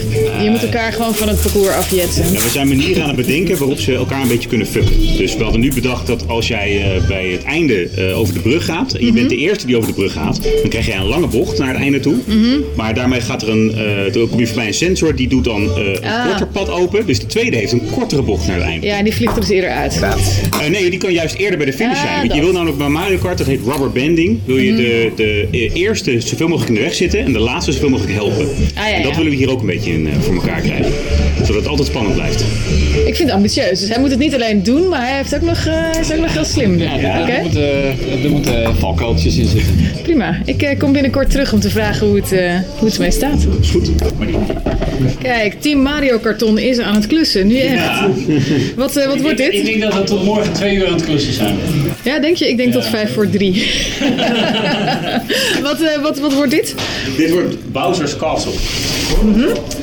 S4: Je moet elkaar gewoon van het parcours afjetsen.
S21: Ja, we zijn manieren aan het bedenken waarop ze elkaar een beetje kunnen fucken. Dus we hadden nu bedacht dat als jij eh, bij het einde eh, over de brug gaat, en je bent
S4: Mhm.
S21: de eerste die over de brug gaat, dan krijg jij een lange bocht naar het einde toe.
S4: Mhm.
S21: Maar daarmee gaat er een, eh dan kom je voorbij een sensor, die doet dan eh, een
S4: Ah.
S21: korter pad open. Dus de tweede heeft een kortere bocht naar het einde.
S4: Ja, en die vliegt er dus eerder uit.
S21: Eh, nee, die kan juist eerder bij de finish
S4: Ah,
S21: zijn. Want
S4: dat. Mhm.
S21: je wil namelijk bij Mario Kart, dat heet rubber banding, wil je de, de eh, eerste zoveel mogelijk in de weg zitten en de laatste zoveel mogelijk helpen.
S4: Ah, ja,
S21: en dat
S4: ja.
S21: willen we hier ook een beetje in, eh, voor elkaar krijgen. Zodat het altijd spannend blijft.
S4: Ik vind het ambitieus. Dus hij moet het niet alleen doen, maar hij heeft ook nog, eh, is ook nog heel slim.
S15: Ja,
S4: Oké,
S15: Er moeten, er moeten valkuiltjes in zitten.
S4: prima. Ik eh, kom binnenkort terug om te vragen hoe het, eh, hoe het ermee staat.
S21: Is goed.
S4: Kijk, Team Mario Karton is aan het klussen. Nu echt. Wat, eh, wat wordt dit?
S15: Ik denk dat we tot morgen twee uur aan het klussen zijn.
S4: Ja, denk je? Ik denk tot vijf voor drie. <laughs> wat, eh, wat, wat wordt dit? Mhm.
S21: Dit wordt Bowser's Castle.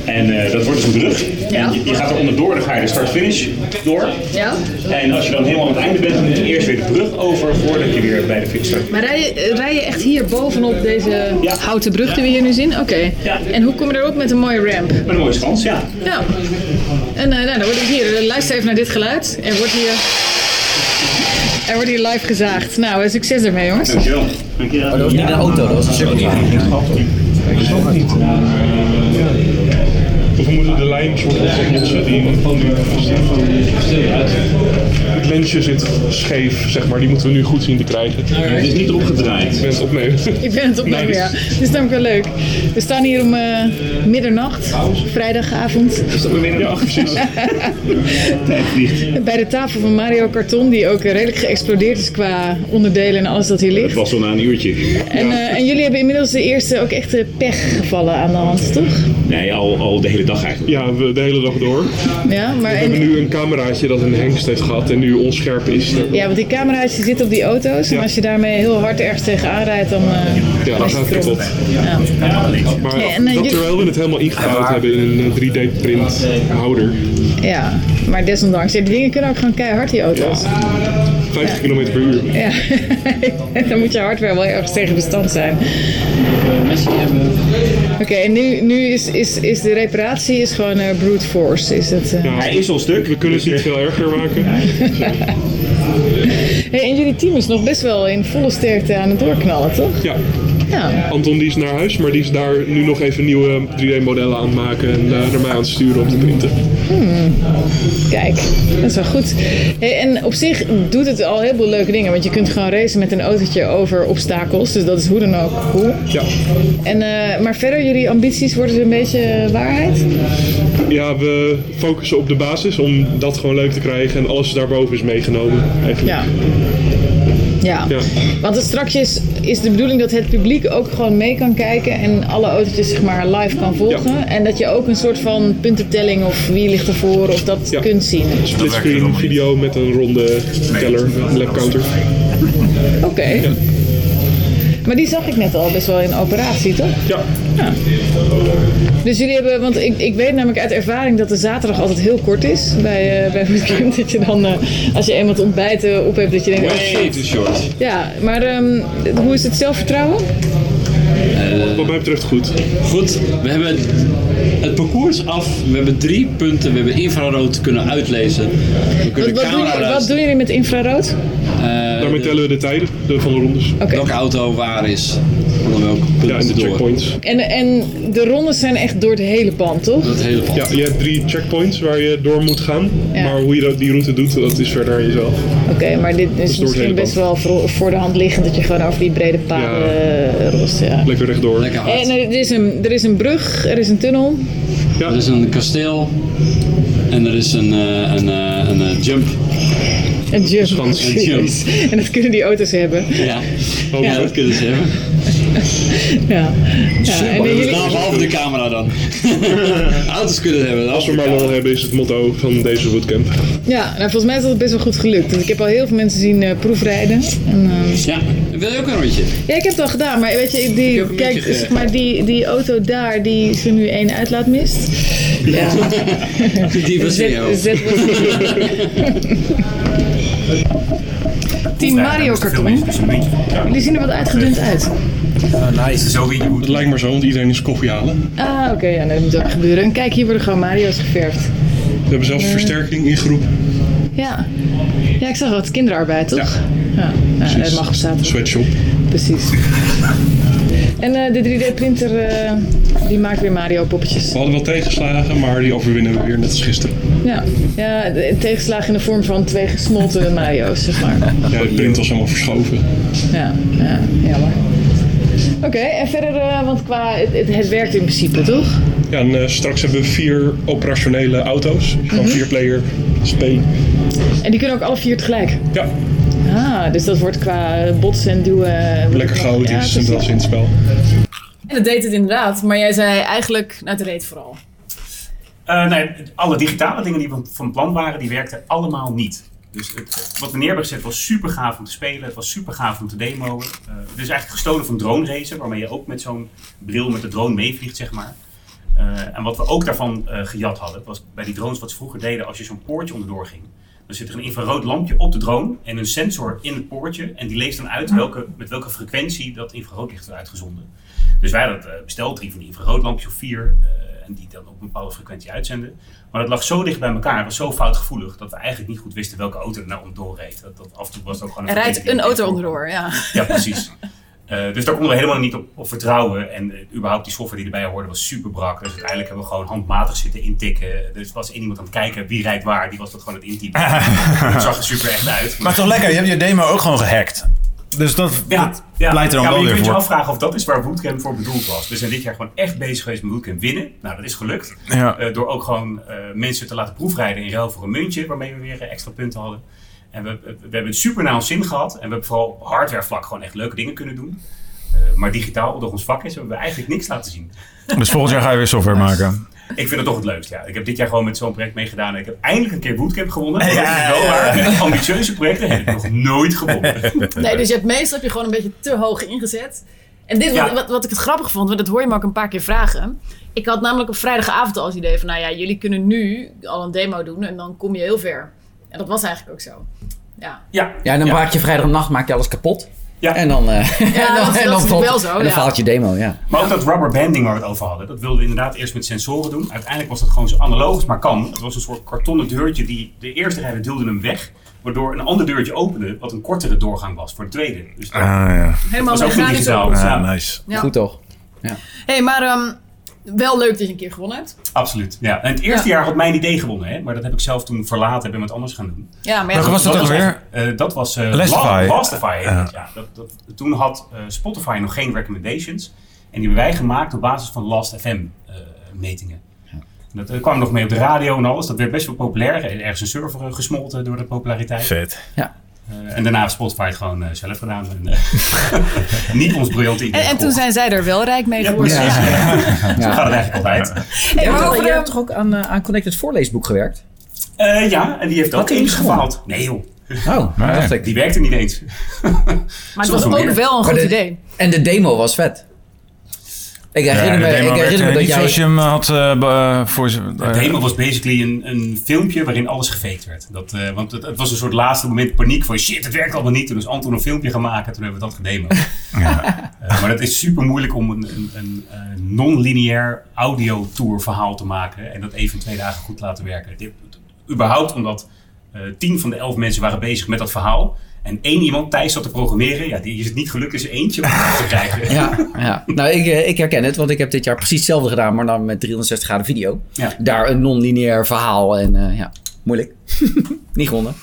S21: En eh, dat wordt dus een brug. En je, je gaat er onderdoor, dan ga je de start-finish door.
S4: Ja.
S21: En als je dan helemaal aan het einde bent, dan moet je eerst weer de brug over voordat je weer bij de finish start.
S4: Maar rij je, eh, rij je echt hier bovenop deze houten brug die we hier nu zien? Oké. En hoe kom je erop met een mooie ramp?
S21: Met een mooie schans, ja.
S4: Nou, en eh, nou, dan wordt het hier. eh, Luister even naar dit geluid. Er wordt hier. Er wordt hier live gezaagd. Nou, eh, succes ermee, jongens.
S21: Dankjewel.
S15: Oh, dat was niet de auto, dat was een
S22: Of we moeten de lijn soort oplossen die van nu Het lensje zit scheef, zeg maar. Die moeten we nu goed zien te krijgen.
S21: Het is niet opgedraaid.
S22: Ik ben het opnemen.
S4: Ik ben het opnemen,
S22: Nee,
S4: ja. Dit is namelijk wel leuk. We staan hier om eh, middernacht, vrijdagavond.
S21: Is dat weer midden? Ja, precies. Tijd
S4: <laughs>
S21: vliegt.
S4: Bij de tafel van Mario Karton, die ook eh, redelijk geëxplodeerd is qua onderdelen en alles dat hier
S21: Het
S4: ligt.
S21: was al na een uurtje.
S4: En, eh, en jullie hebben inmiddels de eerste ook echte pechgevallen aan de hand, toch?
S21: Nee, al, al de hele dag eigenlijk.
S22: Ja, we, de hele dag door.
S4: Ja, maar
S22: we
S4: en-
S22: hebben nu een cameraatje dat een hengst heeft gehad en nu onscherp is.
S4: Ja, want die camera's die zitten op die auto's. En als je daarmee heel hard ergens tegenaan rijdt, dan... eh,
S22: Ja,
S4: dan
S22: dat
S4: is het
S22: gaat
S4: krap.
S22: kapot.
S4: Ja.
S22: Maar
S4: Nee, en, eh,
S22: dat
S4: jullie-
S22: terwijl we het helemaal ingebouwd hebben in een 3D-print houder.
S4: ja, maar desondanks. Ja, die dingen kunnen ook gewoon keihard, die auto's.
S22: 50 km per uur.
S4: Ja, <laughs> dan moet je hardware wel ergens tegen bestand zijn. Oké, en nu, nu is, is, is de reparatie is gewoon eh, brute force. Is het, eh.
S22: Hij is al stuk. Dus, eh, We kunnen het niet veel erger <laughs> maken.
S4: Hey, en jullie team is nog best wel in volle sterkte aan het doorknallen, toch?
S22: Ja.
S4: Ja.
S22: Anton die is naar huis, maar die is daar nu nog even nieuwe 3D-modellen aan het maken en eh, naar mij aan het sturen om te printen.
S4: Hmm. Kijk, dat is wel goed. Hey, en op zich doet het al heel veel leuke dingen. Want je kunt gewoon racen met een autootje over obstakels. Dus dat is hoe dan ook cool.
S22: Ja.
S4: En, eh, maar verder, jullie ambities worden ze een beetje waarheid?
S22: Ja, we focussen op de basis om dat gewoon leuk te krijgen en alles daarboven is meegenomen. Eigenlijk.
S4: Ja. Ja.
S22: Ja.
S4: Want het straks is, is de bedoeling dat het publiek ook gewoon mee kan kijken en alle autootjes zeg maar live kan volgen. En dat je ook een soort van puntentelling of wie ligt ervoor of dat kunt zien.
S22: Splitscreen video met een ronde teller, een lapcounter.
S4: Oké. Maar die zag ik net al best wel in operatie, toch?
S30: Ja.
S4: Dus jullie hebben, want ik, ik weet namelijk uit ervaring dat de zaterdag altijd heel kort is bij, eh bij Bootcamp. Dat je dan, eh, als je eenmaal het ontbijt eh, op hebt, dat je denkt... oh,
S30: Way
S4: shit.
S30: too short.
S4: Ja, maar ehm, hoe is het zelfvertrouwen?
S15: Eh,
S30: Wat mij betreft goed.
S15: Goed, we hebben het parcours af. We hebben drie punten. We hebben infrarood kunnen uitlezen. We
S4: Wat,
S15: kunnen
S4: wat, doen, jullie-
S15: camera's. eh,
S4: wat doen jullie met infrarood?
S15: Daarmee tellen we de tijden van de rondes. Welke auto waar is. Onder welk punt ja, en de checkpoints.
S4: En, en de rondes zijn echt door het hele band, toch?
S15: Dat hele
S22: Ja, je hebt drie checkpoints waar je door moet gaan.
S4: Ja.
S22: Maar hoe je dat, die route doet, dat is verder aan jezelf.
S4: Oké, maar dit is
S22: Dus door het
S4: misschien
S22: hele
S4: best wel voor, voor de hand liggend dat je gewoon over die brede paden... rost, ja.
S22: Lekker rechtdoor.
S4: En er is, een, er is een brug, er is een tunnel.
S15: Er is een kasteel. En er is een, eh, een, eh, een, eh, jump.
S4: Een jump.
S15: Een jump.
S4: En dat kunnen die auto's hebben.
S15: Ja. Hoop
S4: Ja.
S15: dat kunnen ze hebben.
S4: Ja. ja. En
S15: Maar dat is
S4: jullie,
S15: nou behalve de camera
S22: <laughs>
S15: dan. Auto's kunnen hebben.
S22: Als we maar lol hebben, is het motto van deze bootcamp.
S4: ja, nou, volgens mij is dat best wel goed gelukt. Want ik heb al heel veel mensen zien eh, proefrijden. En, ehm,
S15: Ja, wil je ook een rondje?
S4: ja, ik heb het al gedaan, maar weet je, die, kijk,
S15: beetje ge-
S4: zeg maar, die, die auto daar die ze nu één uitlaat mist.
S15: <laughs>
S4: Ja.
S15: Die was
S4: Zet-
S15: heel.
S4: zet was Team Mario karton. Jullie zien er wat uitgedund uit.
S30: nice. Zo wie Het lijkt maar zo, want iedereen is koffie halen.
S4: Ah, oké, ja, nou, dat moet ook gebeuren. En kijk, hier worden gewoon Mario's geverfd.
S30: We hebben zelfs
S4: Ja.
S30: versterking in groep.
S4: Ja. Ja, ik zag wat kinderarbeid, toch? Ja. ja,
S30: Precies.
S4: dat mag op zaterdag.
S30: Sweatshop.
S4: Precies. En eh, de 3D-printer, eh, die maakt weer Mario-poppetjes. We
S30: hadden wel tegenslagen, maar die overwinnen we weer net als gisteren.
S4: Ja, ja de tegenslagen in de vorm van twee gesmolten <laughs> Mario's, zeg maar.
S30: Ja, de print was helemaal verschoven.
S4: Ja, ja jammer. Oké, en verder, eh, want qua, het, het, het werkt in principe, toch?
S22: Ja, en eh, straks hebben we vier operationele auto's. Gewoon
S4: Mhm.
S22: vier player SP.
S4: En die kunnen ook alle vier tegelijk?
S22: Ja.
S4: Ah, dus dat wordt qua botsen en duwen... eh, wordt
S22: Lekker
S4: het nog- ja,
S22: chaotisch en dat is in het spel.
S31: En dat deed het inderdaad, maar jij zei eigenlijk, nou het reed
S22: Oh,
S31: vooral.
S21: Eh, nee, alle digitale dingen die we van plan waren, die werkten allemaal niet. Dus het, wat we neer hebben gezet was super gaaf om te spelen. Het was super gaaf om te demoen. Eh, het is eigenlijk gestolen van drone racen, waarmee je ook met zo'n bril met de drone meevliegt, zeg maar. Eh, en wat we ook daarvan eh, gejat hadden, was bij die drones wat ze vroeger deden als je zo'n poortje onderdoor ging. Dan zit er een infrarood lampje op de drone en een sensor in het poortje. En die leest dan uit welke, met welke frequentie dat infraroodlicht wordt uitgezonden. Dus wij hadden het eh, besteld, drie van die infraroodlampjes of vier. eh, en die dan op een bepaalde frequentie uitzenden. Maar dat lag zo dicht bij elkaar, het was zo foutgevoelig, dat we eigenlijk niet goed wisten welke auto er nou onderdoor reed. Dat, dat af en toe was het ook gewoon
S31: Er rijdt
S21: verkeerde
S31: een
S21: ding.
S31: auto onderdoor, ja.
S21: Ja, precies. Eh, dus daar konden we helemaal niet op, op vertrouwen. En eh, überhaupt die software die erbij hoorde was super brak. Dus uiteindelijk hebben we gewoon handmatig zitten intikken. Dus was één iemand aan het kijken wie rijdt waar. Die was dat gewoon het
S3: <laughs>
S21: intypen. dat zag er super echt uit.
S3: Maar toch lekker, je hebt je demo ook gewoon gehackt. Dus dat, dat pleit er dan
S21: ja, maar
S3: wel
S21: je
S3: weer
S21: kunt je
S3: voor.
S21: afvragen of dat is waar Bootcamp voor bedoeld was. Dus We zijn dit jaar gewoon echt bezig geweest met Bootcamp winnen. Nou, dat is gelukt.
S3: Ja.
S21: Eh, door ook gewoon eh, mensen te laten proefrijden in ruil voor een muntje, waarmee we weer eh, extra punten hadden. En we, we hebben het super naar ons zin gehad. En we hebben vooral op hardware vlak gewoon echt leuke dingen kunnen doen. Eh, maar digitaal, omdat ons vak is, hebben we eigenlijk niks laten zien.
S3: Dus volgend jaar ga je weer software maken.
S21: Ik vind het toch het leukst, ja. Ik heb dit jaar gewoon met zo'n project meegedaan. en Ik heb eindelijk een keer Bootcamp gewonnen.
S3: Ja,
S21: dat is wel
S3: ja,
S21: waar.
S3: ja.
S21: Met Ambitieuze projecten heb ik nog nooit gewonnen.
S31: Nee, dus je hebt, meestal heb je gewoon een beetje te hoog ingezet. En dit,
S21: Ja.
S31: wat, wat, wat ik het grappig vond, want dat hoor je me ook een paar keer vragen. Ik had namelijk op vrijdagavond al het idee van, nou ja, jullie kunnen nu al een demo doen en dan kom je heel ver. En dat was eigenlijk ook zo. Ja,
S21: Ja.
S2: Ja, en dan maak je vrijdagnacht maak je alles kapot.
S21: Ja.
S2: En dan... eh, <laughs> en
S31: Ja, dat-
S2: dan,
S31: dat is
S2: en dan
S31: natuurlijk
S2: valt-
S31: wel zo,
S2: En dan
S31: ja.
S2: faalt je demo, ja.
S21: Maar ook dat rubber banding waar we het over hadden, dat wilden we inderdaad eerst met sensoren doen. Uiteindelijk was dat gewoon zo analoog als maar kan. Het was een soort kartonnen deurtje die de eerste rijder duwde hem weg, waardoor een ander deurtje opende, wat een kortere doorgang was voor de tweede. Dus dat
S3: Ah, ja.
S31: Helemaal
S21: was ook
S31: mechanisch
S21: digitaal.
S31: ook.
S21: Ja,
S3: nice.
S31: Ja.
S2: Goed toch?
S31: Hé, hey, maar ehm, wel leuk dat je een keer gewonnen hebt.
S21: Absoluut. Ja. En het eerste
S31: Ja.
S21: jaar had mijn idee gewonnen, hè? maar dat heb ik zelf toen verlaten en iemand anders gaan doen.
S31: Ja, maar ja,
S21: Welke
S31: goed,
S21: was dat
S31: was
S21: ook
S31: echt-
S21: weer? Eh, dat was eh
S3: Lastify.
S21: La- Lastify, heet
S3: Ja.
S21: het, ja. Dat, dat, toen had eh, Spotify nog geen recommendations. En die hebben wij gemaakt op basis van Last FM eh, metingen. En Dat eh, kwam nog mee op de radio en alles. Dat werd best wel populair. En Ergens een server eh, gesmolten door de populariteit.
S3: Vet.
S2: Ja.
S21: Eh, en daarna heeft Spotify het gewoon eh, zelf gedaan. En, eh, <laughs> niet ons briljante idee.
S31: En, en toen
S21: gevolgd.
S31: zijn zij er wel rijk mee geworden.
S21: Precies.
S31: Ja.
S21: Zo gaat het eigenlijk altijd.
S31: Hey, maar over,
S2: Je
S31: ehm,
S2: hebt toch ook aan, eh, aan Connected Voorleesboek gewerkt?
S21: Eh, ja, en die heeft
S2: Had
S21: ook
S2: hij
S21: eens
S2: niet gewonnen?
S21: gefaald. Nee joh.
S2: Oh,
S21: Nee.
S2: dacht ik.
S21: Die werkte niet eens.
S4: Maar het was ook wel een
S2: Maar
S4: goed
S2: de-
S4: idee.
S2: En de demo was vet. Ik herinner
S3: Ja,
S2: me,
S3: de demo
S2: ik
S3: werd,
S2: herinner
S3: eh,
S2: me dat
S3: niet
S2: jij...
S3: zoals je hem had eh, be- eh, voor... z-
S21: Het
S3: eh,
S21: hemel was basically een, een filmpje waarin alles gefaked werd. Dat, eh, want het, het was een soort laatste moment paniek van shit, het werkt allemaal niet. Toen is Anton een filmpje gaan maken, toen hebben we dat gedemoed. Eh, maar dat is super moeilijk om een, een, een eh, non-lineair audio-tour verhaal te maken. En dat even twee dagen goed laten werken. Dit, überhaupt omdat eh, tien van de elf mensen waren bezig met dat verhaal. En één iemand, Thijs, zat te programmeren. Ja, die is het niet gelukt in zijn eentje om het te krijgen.
S2: <laughs> Ja, ja. Nou, ik, eh, ik herken het, want ik heb dit jaar precies hetzelfde gedaan, maar dan met 360 graden video.
S21: Ja.
S2: Daar een non-lineair verhaal en eh, ja, moeilijk. <laughs> Niet gewonnen.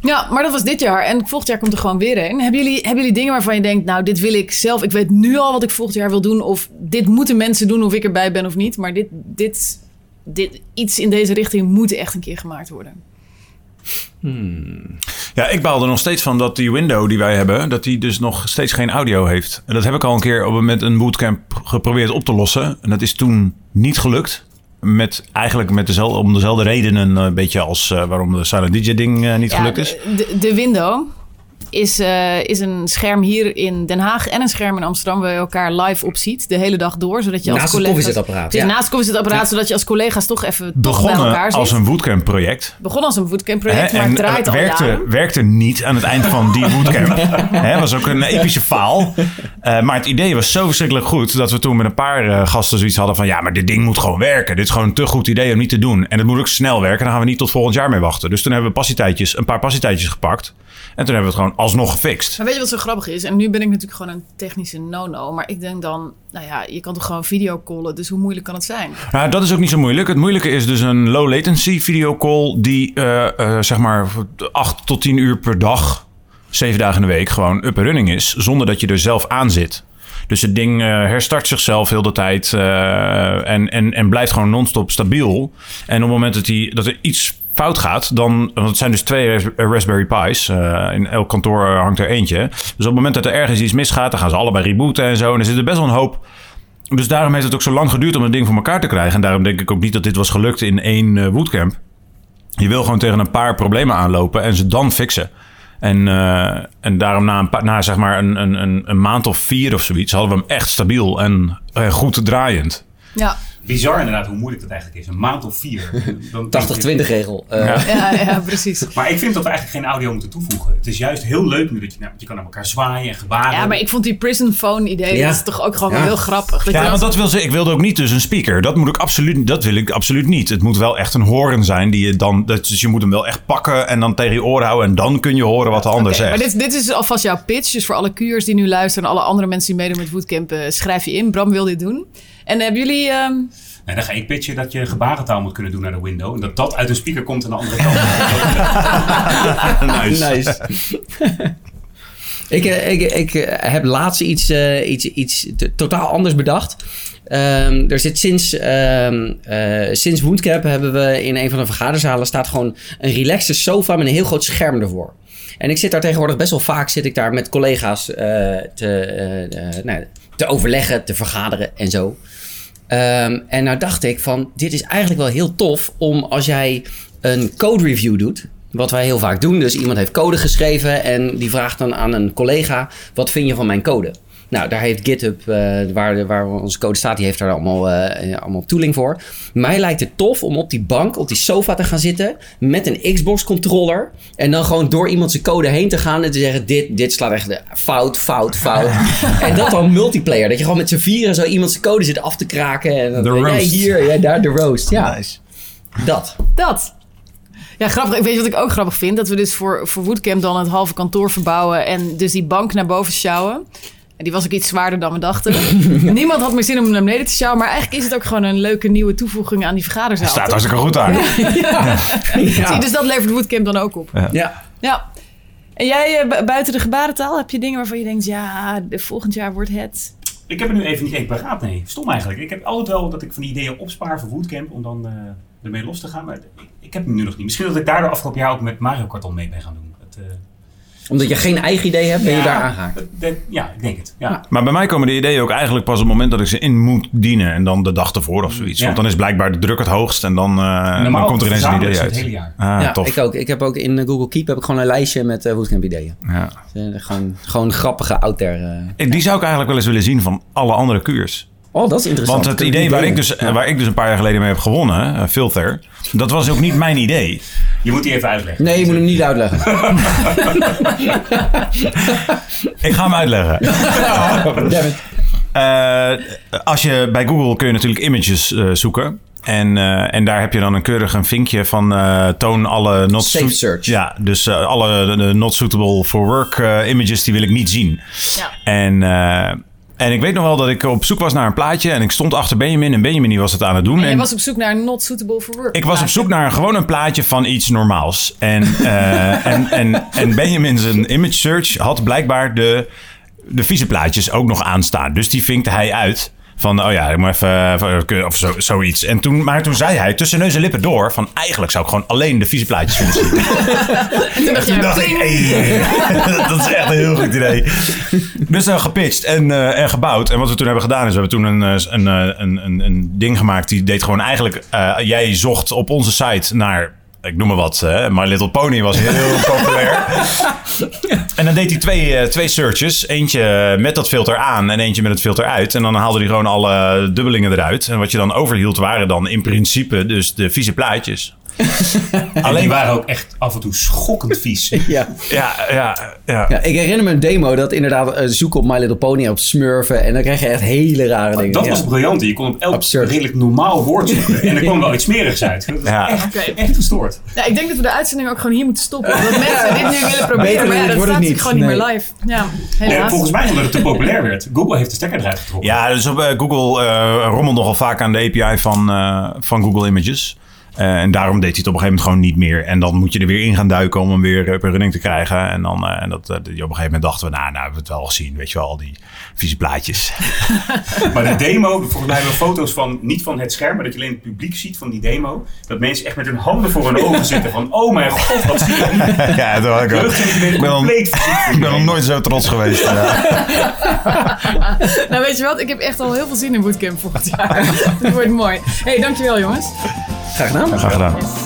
S4: Ja, maar dat was dit jaar. En volgend jaar komt er gewoon weer een. Hebben jullie, hebben jullie dingen waarvan je denkt, nou, dit wil ik zelf. Ik weet nu al wat ik volgend jaar wil doen. Of dit moeten mensen doen of ik erbij ben of niet. Maar dit, dit, dit, iets in deze richting moet echt een keer gemaakt worden.
S2: Hmm.
S3: Ja, ik baal er nog steeds van dat die window die wij hebben, dat die dus nog steeds geen audio heeft. En dat heb ik al een keer op, met een bootcamp geprobeerd op te lossen. En dat is toen niet gelukt. Met, eigenlijk met dezelfde, om dezelfde redenen, eh, een beetje als eh, waarom de Silent DJ ding eh, niet
S4: Ja,
S3: gelukt is.
S4: De, de window is, eh, is een scherm hier in Den Haag en een scherm in Amsterdam waar je elkaar live op ziet de hele dag door, zodat je als
S2: Naast het
S4: collega's
S2: koffiezetapparaat,
S4: Het is
S2: ja.
S4: naast het koffiezetapparaat, zodat je als collega's toch even toch bij
S3: Begonnen
S4: elkaar zit.
S3: als een bootcamp project.
S4: Begon als een bootcamp project, maar
S3: en
S4: het draait
S3: het
S4: al
S3: werkte,
S4: jaren.
S3: werkte niet aan het eind
S4: <laughs>
S3: van die bootcamp. hè, was ook een epische faal. Eh, maar het idee was zo verschrikkelijk goed dat we toen met een paar eh, gasten zoiets hadden van ja, maar dit ding moet gewoon werken. Dit is gewoon een te goed idee om niet te doen. En het moet ook snel werken. Daar gaan we niet tot volgend jaar mee wachten. Dus toen hebben we passietijtjes, een paar passietijtjes gepakt. En toen hebben we het gewoon alsnog gefixt.
S4: Maar weet je wat zo grappig is? En nu ben ik natuurlijk gewoon een technische no-no. Maar ik denk dan, nou ja, je kan toch gewoon videocallen. Dus hoe moeilijk kan het zijn?
S3: Nou, dat is ook niet zo moeilijk. Het moeilijke is dus een low latency videocall die eh, eh, zeg maar 8 tot 10 uur per dag, 7 dagen in de week gewoon up and running is, zonder dat je er zelf aan zit. Dus het ding eh, herstart zichzelf heel de tijd eh, en, en, en blijft gewoon non-stop stabiel. En op het moment dat, die, dat er iets fout gaat, dan... Want het zijn dus twee ras- eh, Raspberry Pi's. eh, in elk kantoor hangt er eentje. Dus op het moment dat er ergens iets misgaat, dan gaan ze allebei rebooten en zo. En er zit er best wel een hoop dus daarom heeft het ook zo lang geduurd om het ding voor elkaar te krijgen. En daarom denk ik ook niet dat dit was gelukt in één eh, bootcamp. Je wil gewoon tegen een paar problemen aanlopen en ze dan fixen. En, eh, en daarom na, een paar, na zeg maar een, een, een, een maand of vier of zoiets... hadden we hem echt stabiel en eh, goed draaiend.
S4: Ja.
S21: Bizar inderdaad hoe moeilijk dat eigenlijk is. Een maand of vier. Dan-
S2: 80-20 regel. Eh.
S21: Ja.
S4: Ja, ja, precies.
S21: <laughs> Maar ik vind dat we eigenlijk geen audio moeten toevoegen. Het is juist heel leuk nu dat je, nou, je kan naar elkaar zwaaien en gebaren.
S4: Ja, maar ik vond die prison phone idee,
S21: Ja.
S4: dat is toch ook gewoon
S3: Ja.
S4: heel grappig. Dat je
S3: Ja,
S4: dan-
S3: want dat wil ze, ik wilde ook niet dus een speaker. Dat, moet ik absoluut, dat wil ik absoluut niet. Het moet wel echt een horen zijn. Die je dan, dat, dus je moet hem wel echt pakken en dan tegen je oren houden. En dan kun je horen wat de ander
S4: Oké,
S3: zegt.
S4: maar dit, dit is alvast jouw pitch. Dus voor alle Q'ers die nu luisteren en alle andere mensen die meedoen met Woodcamp, eh, schrijf je in. Bram wil dit doen. En hebben jullie... ehm,
S21: Nee, Nou, dan ga ik pitchen dat je gebarentaal moet kunnen doen naar de window. En dat dat uit een speaker komt aan de andere
S2: <laughs>
S21: kant. <laughs>
S2: nice. ik, eh, ik, ik eh, heb laatst iets, eh, iets, iets t- totaal anders bedacht. Ehm, er zit sinds, ehm eh, sinds Woundcap hebben we in een van de vergaderzalen staat gewoon een relaxte sofa met een heel groot scherm ervoor. En ik zit daar tegenwoordig best wel vaak zit ik daar met collega's eh, te, eh, eh, nou, te overleggen, te vergaderen en zo. Ehm, en nou dacht ik van, dit is eigenlijk wel heel tof om als jij een code review doet. Wat wij heel vaak doen. Dus iemand heeft code geschreven en die vraagt dan aan een collega, wat vind je van mijn code? Nou, daar heeft GitHub, eh, waar, waar onze code staat, die heeft daar allemaal, eh, eh, allemaal tooling voor. Mij lijkt het tof om op die bank, op die sofa te gaan zitten met een Xbox-controller. En dan gewoon door iemand zijn code heen te gaan en te zeggen, dit, dit slaat echt fout, fout,
S3: <laughs>
S2: fout. en dat dan multiplayer. Dat je gewoon met z'n vieren zo iemand zijn code zit af te kraken. En dan,
S4: De
S2: jij
S4: roast.
S2: hier, jij daar, de roast. Ja, dat.
S3: Eh,
S4: Dat. Ja, grappig. Ik weet je wat ik ook grappig vind? Dat we dus voor, voor Woodcamp dan het halve kantoor verbouwen en dus die bank naar boven sjouwen. En die was ook iets zwaarder dan we dachten. Niemand had meer zin om hem naar beneden te sjouwen. Maar eigenlijk is het ook gewoon een leuke nieuwe toevoeging aan die vergaderzaal.
S3: Hij staat
S4: toch?
S3: hartstikke goed aan.
S4: Ja. Ja.
S3: <laughs> Ja.
S4: Zie, dus dat levert Woodcamp dan ook op.
S3: Ja.
S4: Ja. En jij eh, bu- buiten de gebarentaal, heb je dingen waarvan je denkt, ja, de- volgend jaar wordt het.
S21: ik heb er nu even niet echt paraat, nee. Stom eigenlijk. Ik heb altijd wel dat ik van die ideeën opspaar voor Woodcamp om dan eh, ermee los te gaan. Maar ik, ik heb hem nu nog niet. Misschien dat ik daar de afgelopen jaar ook met Mario Kart al mee ben gaan doen. Het, eh,
S2: Omdat je geen eigen idee hebt, ben je daar aangehaakt.
S21: dat- dat- Ja, ik denk het. Ja.
S3: Maar bij mij komen de ideeën ook eigenlijk pas op het moment dat ik ze in moet dienen. En dan de dag ervoor of zoiets.
S2: Ja.
S3: Want dan is blijkbaar de druk het hoogst. En dan, eh, dan
S2: Normaal
S3: komt er ineens een
S2: verzamel ik
S3: idee
S2: ze
S3: uit.
S2: het hele jaar.
S3: Ah,
S2: ja,
S3: tof.
S2: ik ook. Ik heb ook in eh, Google Keep heb ik gewoon een lijstje met eh, Bootcamp ideeën.
S3: Ja.
S2: Eh, gewoon, gewoon grappige out there. eh.
S3: Ik- Die zou ik eigenlijk wel eens willen zien van alle andere kuurs.
S2: Oh, dat is interessant.
S3: Want het
S2: Kun je
S3: idee
S2: die
S3: waar ik,
S2: delen?
S3: dus, eh, waar ik dus een paar jaar geleden mee heb gewonnen, eh, Filter, dat was ook niet mijn idee.
S21: Je moet die even uitleggen.
S2: Nee, je moet <laughs> hem niet uitleggen.
S3: <laughs> Ik ga hem uitleggen.
S2: <laughs>
S7: <laughs>
S3: Eh, als je bij Google kun je natuurlijk images eh, zoeken. En, eh, en daar heb je dan een keurig een vinkje van eh, toon alle not
S2: Safe
S3: suit-
S2: search.
S3: Ja, dus eh, alle de- de not suitable for work eh, images die wil ik niet zien. En, eh, en ik weet nog wel dat ik op zoek was naar een plaatje en ik stond achter Benjamin en Benjamin die was het aan het doen.
S4: En jij
S3: En-
S4: was op zoek naar een not suitable for work.
S3: ik was op zoek naar gewoon een plaatje van iets normaals. En, eh, en, en, en Benjamin zijn image search had blijkbaar de, de vieze plaatjes ook nog aanstaan. Dus die vinkte hij uit. Van, oh ja, ik moet even, even- of zo, zoiets. En toen, maar toen zei hij tussen neus en lippen door... van eigenlijk zou ik gewoon alleen de vieze plaatjes willen zien.
S4: <laughs> En toen dacht
S3: Toen
S4: jij,
S3: dacht ik,
S4: "Pling."
S7: <laughs>
S3: hey, dat is echt een heel goed idee. <laughs> Dus dan gepitcht en, eh, en gebouwd. En wat we toen hebben gedaan is, we hebben toen een, eh, een, eh, een, een, een ding gemaakt. Die deed gewoon eigenlijk, eh, jij zocht op onze site naar, ik noem maar wat, hè, My Little Pony was heel populair. En dan deed hij twee, eh, twee searches. Eentje eh, met dat filter aan en eentje met het filter uit. En dan haalde hij gewoon alle eh, dubbelingen eruit. En wat je dan overhield waren dan in principe dus de vieze plaatjes.
S21: Alleen die waren ook echt af en toe schokkend vies.
S2: ja.
S3: Ja, ja, ja.
S2: Ja, ik herinner me een demo dat inderdaad eh, zoeken op My Little Pony op smurfen. En dan krijg je echt hele rare dingen.
S21: Oh, Dat
S2: Ja.
S21: was briljant. Je kon op elk redelijk normaal woord
S2: <laughs>
S21: zoeken. En er kwam wel iets smerigs uit. Dat is echt, echt gestoord.
S4: Ja, ik denk dat we de uitzending ook gewoon hier moeten stoppen. Omdat mensen dit nu willen proberen.
S21: Beter
S4: Maar ja,
S21: dit
S4: dat
S21: wordt
S4: staat natuurlijk
S21: het niet.
S4: gewoon niet meer
S21: Nee.
S4: live. Ja,
S21: En
S4: helaas.
S21: volgens mij omdat het te populair werd. Google heeft de stekker eruit getrokken.
S3: Ja, dus op, eh, Google eh rommelt nogal vaak aan de API van, eh, van Google Images. Eh, en daarom deed hij het op een gegeven moment gewoon niet meer. En dan moet je er weer in gaan duiken om hem weer eh, op een running te krijgen. En dan eh, en dat, eh, die- op een gegeven moment dachten we, nou, nou hebben we het wel gezien. Weet je wel, al die vieze plaatjes.
S2: <laughs>
S21: Maar de demo, volgens mij hebben we foto's van, niet van het scherm, maar dat je alleen het publiek ziet van die demo. Dat mensen echt met hun handen voor hun ogen zitten van, oh mijn god, wat zie ik nu?
S3: ja, dat was ik ook. Ik ben, al, <laughs> ik ben nog nooit zo trots geweest. Ja.
S4: <laughs> Nou, weet je wat? Ik heb echt al <laughs> heel veel zin in bootcamp volgend jaar. Dat wordt mooi. hey, dankjewel jongens.
S2: Graag gedaan.
S3: Graag gedaan.